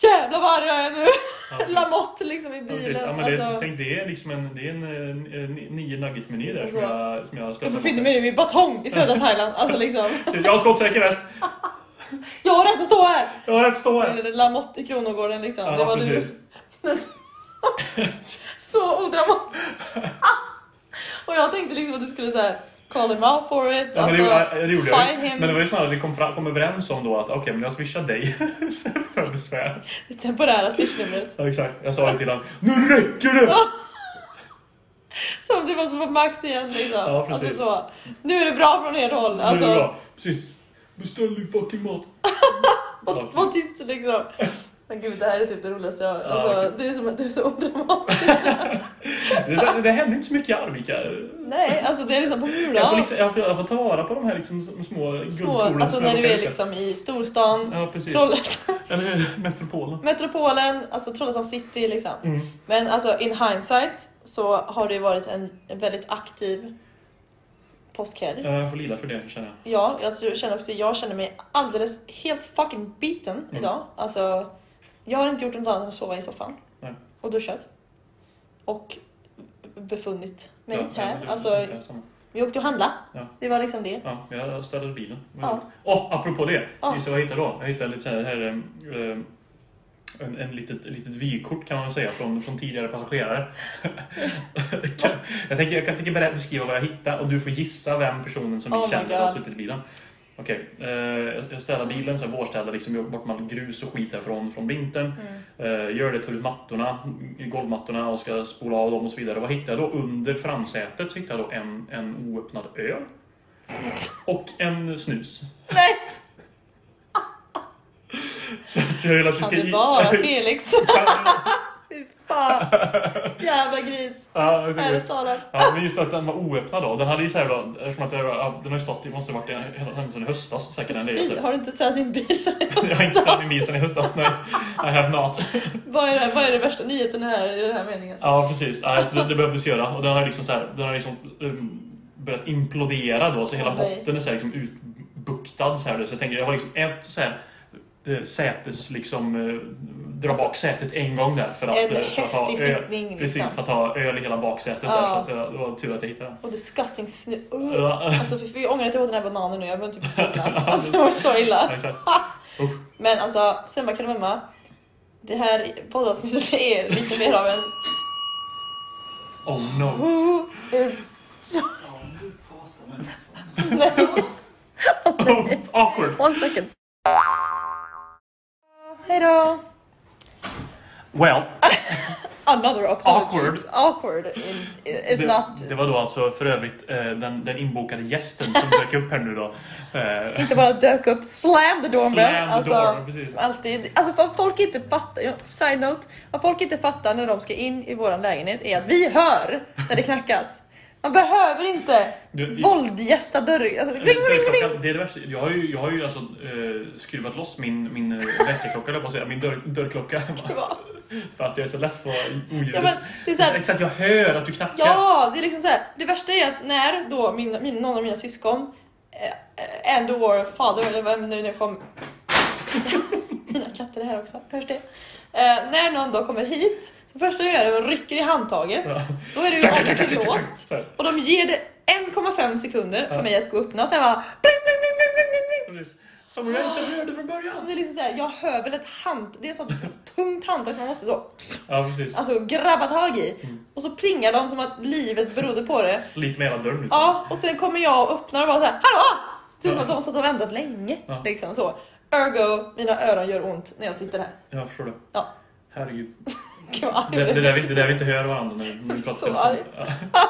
[SPEAKER 2] jävla vad jag är nu! <laughs>
[SPEAKER 1] Ja.
[SPEAKER 2] Lamotte liksom i
[SPEAKER 1] Ja, precis. Ja,
[SPEAKER 2] bilen.
[SPEAKER 1] men det,
[SPEAKER 2] alltså,
[SPEAKER 1] tänk, det är liksom en, det är en, eh, ni- nio nugget-meny där
[SPEAKER 2] Precis
[SPEAKER 1] som
[SPEAKER 2] så.
[SPEAKER 1] jag, som jag
[SPEAKER 2] jag
[SPEAKER 1] slösar
[SPEAKER 2] befinner
[SPEAKER 1] bort.
[SPEAKER 2] mig nu i Batong i södra Thailand. Alltså liksom,
[SPEAKER 1] Jag har skottsäker väst.
[SPEAKER 2] jag har rätt att stå här!
[SPEAKER 1] Jag har rätt att stå här.
[SPEAKER 2] Eller Lamotte i Kronogården liksom. det
[SPEAKER 1] Ja,
[SPEAKER 2] var du.
[SPEAKER 1] precis.
[SPEAKER 2] <laughs>
[SPEAKER 1] <laughs>
[SPEAKER 2] Så odramatiskt. och jag tänkte liksom att du skulle säga call him out for it. Alltså,
[SPEAKER 1] Ja, men det, gjorde- det gjorde jag
[SPEAKER 2] find
[SPEAKER 1] ju.
[SPEAKER 2] him.
[SPEAKER 1] Men det var ju snarare att vi kom, fram, kom överens om då att okej, men jag swishar dig <laughs> för besvär.
[SPEAKER 2] Det temporära <laughs> swishnumret.
[SPEAKER 1] Ja, exakt. Jag sa det till honom. Nu räcker
[SPEAKER 2] <laughs>
[SPEAKER 1] det!
[SPEAKER 2] Som det var som på Max igen liksom.
[SPEAKER 1] Ja, precis.
[SPEAKER 2] Alltså, så. Nu är det bra från er håll. Alltså,
[SPEAKER 1] Nu är det bra. Precis. Beställ din fucking mat.
[SPEAKER 2] What, what is liksom. Men gud, det här är typ det roligaste jag har.
[SPEAKER 1] Ja,
[SPEAKER 2] Alltså, du, är som, du är så odramatisk.
[SPEAKER 1] Det, det hände inte så mycket i Arvika.
[SPEAKER 2] <laughs> Nej, alltså det är liksom på
[SPEAKER 1] Jag, får
[SPEAKER 2] Mula.
[SPEAKER 1] liksom, jag, får, jag får ta vara på de här liksom små
[SPEAKER 2] Små,
[SPEAKER 1] guldkornen.
[SPEAKER 2] alltså
[SPEAKER 1] som
[SPEAKER 2] när
[SPEAKER 1] jag
[SPEAKER 2] du är
[SPEAKER 1] råkar-
[SPEAKER 2] liksom i storstan,
[SPEAKER 1] Ja, precis.
[SPEAKER 2] Trollhättan,
[SPEAKER 1] Eller hur? metropolen.
[SPEAKER 2] <laughs> metropolen, alltså Trollhättan city liksom.
[SPEAKER 1] Mm.
[SPEAKER 2] Men alltså in hindsight så har det varit en väldigt aktiv påskhelg.
[SPEAKER 1] Ja, Jag får lida för det, känner jag.
[SPEAKER 2] Ja, jag tror- känner också, jag känner mig alldeles helt fucking biten
[SPEAKER 1] Mm.
[SPEAKER 2] idag. Alltså, jag har inte gjort något annat än att sova i soffan.
[SPEAKER 1] Nej.
[SPEAKER 2] Och duschat. Och befunnit mig
[SPEAKER 1] Ja,
[SPEAKER 2] här.
[SPEAKER 1] ja, det är
[SPEAKER 2] alltså,
[SPEAKER 1] ungefär samma.
[SPEAKER 2] vi åkte och handlade.
[SPEAKER 1] Ja. Mm.
[SPEAKER 2] Det var liksom det.
[SPEAKER 1] Ja, jag städade bilen.
[SPEAKER 2] Ja.
[SPEAKER 1] Åh, apropå det!
[SPEAKER 2] Ja.
[SPEAKER 1] Gissa vad jag hittade då? Jag hittade lite så här, eh, en, en litet, litet vykort kan man säga från, från
[SPEAKER 2] <laughs>
[SPEAKER 1] tidigare passagerare. Kan- jag, tänker, jag kan tänker bara beskriva vad jag hittade och du får gissa vem personen som vi
[SPEAKER 2] Oh my
[SPEAKER 1] känner har
[SPEAKER 2] God.
[SPEAKER 1] suttit i bilen. Okej, eh, jag- jag städar bilen, så här vårstädar liksom, gör bort med all grus och skit härifrån från vintern.
[SPEAKER 2] Mm.
[SPEAKER 1] Eh, gör det, tar ut mattorna, golvmattorna och ska spola av dem och så vidare. Vad hittade jag då? Under framsätet så hittade jag då en, en oöppnad öl. Och en snus.
[SPEAKER 2] Nej,
[SPEAKER 1] Så att jag vill att vi
[SPEAKER 2] kan
[SPEAKER 1] ska...
[SPEAKER 2] det
[SPEAKER 1] i- <laughs>
[SPEAKER 2] vara Felix?
[SPEAKER 1] Ja,
[SPEAKER 2] <laughs> Fy fan. Jävla gris.
[SPEAKER 1] ja, jag
[SPEAKER 2] Ärligt
[SPEAKER 1] tänkte-
[SPEAKER 2] talat.
[SPEAKER 1] Ja, men just att den var oöppnad då. Den hade ju så här då, eftersom att det, ja, den har ju stått, det måste ha varit en- hela händelsen i höstas säkert. Den
[SPEAKER 2] Fy,
[SPEAKER 1] legat.
[SPEAKER 2] har du inte städat din bil sen jag kom?
[SPEAKER 1] <laughs> Jag har inte ställt min bil sedan i höstas, nej. I have not.
[SPEAKER 2] Vad är, det, vad är det värsta nyheten här i den här meningen?
[SPEAKER 1] Ja, precis. Ja, så det, det behövdes göra. Och den har liksom, så här, den har liksom um, börjat implodera då, så hela
[SPEAKER 2] Åh, nej.
[SPEAKER 1] botten är så här, liksom utbuktad. Så, här, så jag tänker, jag har liksom ett så här, eh, sätes, liksom, eh, dra
[SPEAKER 2] Alltså,
[SPEAKER 1] bak sätet en gång där för att,
[SPEAKER 2] En
[SPEAKER 1] eh, för att ha
[SPEAKER 2] häftig
[SPEAKER 1] öl.
[SPEAKER 2] sittning
[SPEAKER 1] Precis,
[SPEAKER 2] liksom.
[SPEAKER 1] för att ha öl i hela baksätet där,
[SPEAKER 2] Ja.
[SPEAKER 1] så att det, var- det var tur att jag hittade den.
[SPEAKER 2] Och disgusting snus.
[SPEAKER 1] Ja.
[SPEAKER 2] Alltså fy, jag ångrar att jag åt den här bananen nu, jag behöver typ blunda. Alltså det var så illa.
[SPEAKER 1] <laughs> Exakt.
[SPEAKER 2] Men alltså, summa kardemumma. Det här poddavsnittet är lite mer av en
[SPEAKER 1] Oh no. <laughs>
[SPEAKER 2] who is...
[SPEAKER 3] Du pratar med
[SPEAKER 2] <laughs> Nej,
[SPEAKER 1] Oh, awkward.
[SPEAKER 2] one second. Hejdå!
[SPEAKER 1] Well,
[SPEAKER 2] Another apologies.
[SPEAKER 1] Awkward.
[SPEAKER 2] Awkward. in- is
[SPEAKER 1] det,
[SPEAKER 2] not...
[SPEAKER 1] det var då alltså för övrigt eh, den, den inbokade gästen som dök upp här nu då. Eh,
[SPEAKER 2] Inte bara dök upp, slam the door
[SPEAKER 1] Slam
[SPEAKER 2] man.
[SPEAKER 1] the
[SPEAKER 2] Alltså,
[SPEAKER 1] door, precis.
[SPEAKER 2] som alltid. Alltså vad folk inte fattar, ja, side note. Vad folk inte fattar när de ska in i våran lägenhet är att vi hör när det knackas. Man behöver inte
[SPEAKER 1] Du-
[SPEAKER 2] våldgästa dörren. Alltså, ring,
[SPEAKER 1] Det
[SPEAKER 2] ring,
[SPEAKER 1] är
[SPEAKER 2] ring.
[SPEAKER 1] klockan- det är det värsta. Jag har ju, jag har ju alltså, eh, skruvat loss min, min eh, väckarklocka, höll jag på att säga. Min dörr, dörrklocka. <laughs> För att jag är så less på oljudet.
[SPEAKER 2] Ja, men det är så här-
[SPEAKER 1] Exakt, jag hör att du knackar.
[SPEAKER 2] Ja, det är liksom så här. Det värsta är att när då min, min, någon av mina syskon, eh, and or father, eller vem nu nu kom... <laughs> mina katter är här också, hörs det? Eh, när någon då kommer hit, så första jag gör är att rycker i handtaget.
[SPEAKER 1] Ja.
[SPEAKER 2] Då är det ju
[SPEAKER 1] Tack, tack, tack,
[SPEAKER 2] alltid
[SPEAKER 1] tack, tack,
[SPEAKER 2] låst.
[SPEAKER 1] tack. Så här.
[SPEAKER 2] Och de ger det 1,5 sekunder
[SPEAKER 1] Ja.
[SPEAKER 2] för mig att gå upp och sen bara bling, bling, bling, bling, bling, bling, bling.
[SPEAKER 1] Precis. Som jag inte hörde från början.
[SPEAKER 2] <laughs> Det är liksom så här, jag hör väl ett hand, det är ett sånt tungt handtag som man måste så,
[SPEAKER 1] Ja, precis.
[SPEAKER 2] alltså, grabba tag i.
[SPEAKER 1] Mm.
[SPEAKER 2] Och så plingar de som att livet berodde på det.
[SPEAKER 1] Lite med hela dörren liksom.
[SPEAKER 2] Ja, och sen kommer jag och öppnar och bara så här, hallå! Typ
[SPEAKER 1] Ja.
[SPEAKER 2] att de har stått och väntat länge.
[SPEAKER 1] Ja.
[SPEAKER 2] Liksom så. Ergo, mina öron gör ont när jag sitter här. <laughs>
[SPEAKER 1] Jag förstår det.
[SPEAKER 2] Ja.
[SPEAKER 1] Herregud.
[SPEAKER 2] Gud, vad
[SPEAKER 1] Det, det,
[SPEAKER 2] arg.
[SPEAKER 1] där, vi- det där vi inte hör varandra när när vi pratar.
[SPEAKER 2] <laughs> Så
[SPEAKER 1] i telefon.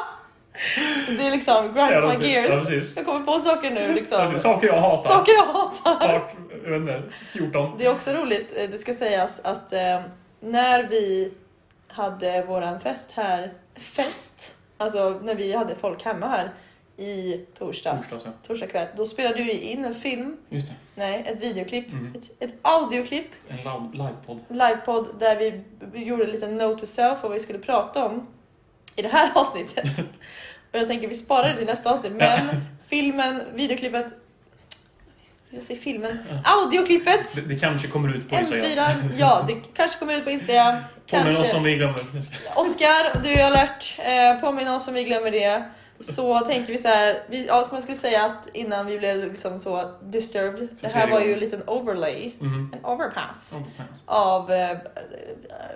[SPEAKER 2] Det är liksom
[SPEAKER 1] Ja,
[SPEAKER 2] grinds my
[SPEAKER 1] någonting. Ja,
[SPEAKER 2] gears.
[SPEAKER 1] precis.
[SPEAKER 2] Jag kommer på saker nu liksom.
[SPEAKER 1] Precis. <laughs> Saker jag hatar.
[SPEAKER 2] Saker jag hatar.
[SPEAKER 1] Klart, jag vet inte, 14.
[SPEAKER 2] Det är också roligt, eh, det ska sägas, att eh, när vi hade våran fest här, fest, alltså när vi hade folk hemma här i torsdags,
[SPEAKER 1] Torsdags, ja.
[SPEAKER 2] torsdag kväll, då spelade vi in en film,
[SPEAKER 1] alltså. Just det.
[SPEAKER 2] nej, ett videoklipp,
[SPEAKER 1] Mm.
[SPEAKER 2] ett, ett audioklipp,
[SPEAKER 1] En loud- livepodd.
[SPEAKER 2] livepodd där vi b- gjorde en liten note to self vad vi skulle prata om i det här <laughs> avsnittet. Och jag tänker vi sparar det till nästa avsnitt, men filmen, videoklippet, jag säger filmen, audioklippet
[SPEAKER 1] Det, det kanske kommer ut på Instagram.
[SPEAKER 2] M4, ja det kanske kommer ut på Instagram.
[SPEAKER 1] Påminn oss om
[SPEAKER 2] Kanske.
[SPEAKER 1] vi glömmer.
[SPEAKER 2] Oskar, du är alert. Eh, påminn oss om vi glömmer det. Så tänker vi så här, vi, ja, som jag skulle säga att innan vi blev liksom så disturbed. Det här var ju en liten overlay,
[SPEAKER 1] Mm.
[SPEAKER 2] en overpass.
[SPEAKER 1] Oh, nice.
[SPEAKER 2] Av eh,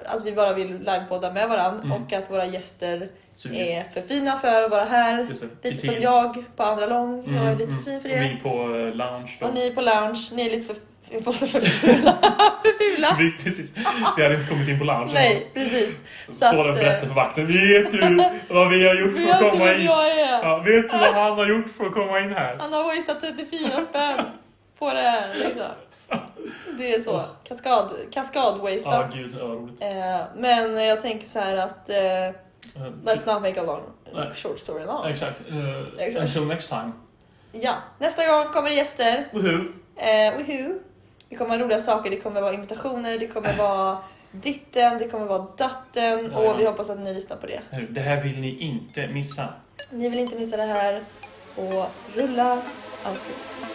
[SPEAKER 2] att vi bara vill livepodda med varandra
[SPEAKER 1] Mm.
[SPEAKER 2] och att våra gäster
[SPEAKER 1] Suger.
[SPEAKER 2] är för fina för att vara här.
[SPEAKER 1] Just det.
[SPEAKER 2] Eh,
[SPEAKER 1] I
[SPEAKER 2] Lite som
[SPEAKER 1] tid.
[SPEAKER 2] jag på andra lång,
[SPEAKER 1] Mm,
[SPEAKER 2] jag är lite
[SPEAKER 1] mm.
[SPEAKER 2] för fin för
[SPEAKER 1] Och
[SPEAKER 2] det.
[SPEAKER 1] Vi på eh, lounge då.
[SPEAKER 2] Och
[SPEAKER 1] <laughs>
[SPEAKER 2] ni på lounge, ni är lite för, för, för fula. för fula.
[SPEAKER 1] Vi, precis. vi hade inte kommit in på lounge.
[SPEAKER 2] Nej, precis. Så
[SPEAKER 1] Står
[SPEAKER 2] att,
[SPEAKER 1] där och
[SPEAKER 2] eh,
[SPEAKER 1] berättar för vakten. Vet du vad vi har gjort för
[SPEAKER 2] Vet
[SPEAKER 1] att
[SPEAKER 2] du
[SPEAKER 1] komma
[SPEAKER 2] vem
[SPEAKER 1] hit?
[SPEAKER 2] jag är?
[SPEAKER 1] Ja, vet du vad han har gjort för att komma in här?
[SPEAKER 2] Han har wasteat 34 spänn på det här. Liksom. Det är så. Kaskad, kaskad
[SPEAKER 1] Ja,
[SPEAKER 2] wasted.
[SPEAKER 1] gud, ja, roligt.
[SPEAKER 2] Eh, men jag tänker så här att eh,
[SPEAKER 1] Eh,
[SPEAKER 2] let's not make a long
[SPEAKER 1] Nej.
[SPEAKER 2] short story long.
[SPEAKER 1] Exakt. Eh,
[SPEAKER 2] Exakt.
[SPEAKER 1] until next time.
[SPEAKER 2] Ja, nästa gång kommer det gäster.
[SPEAKER 1] Woohoo!
[SPEAKER 2] Eh, woohoo. Det kommer vara roliga saker, det kommer vara imitationer, det kommer vara ditten, det kommer vara datten
[SPEAKER 1] Ja, ja.
[SPEAKER 2] och vi hoppas att ni lyssnar på det.
[SPEAKER 1] Nu, Det här vill ni inte missa.
[SPEAKER 2] Ni vill inte missa det här och rulla outfit.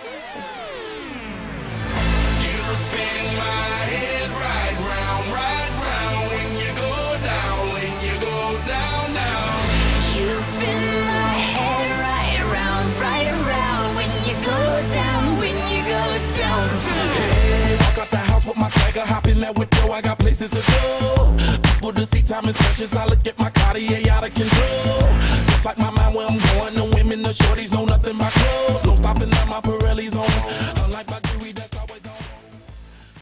[SPEAKER 4] You spin my head right around, right around when you go down, when you go down, down.
[SPEAKER 5] I got the house with my swagger, hopping that window. I got places to go. People to see, time is precious. I look at my Cartier out of control. Just like my mind, where I'm going, the women, the shorties,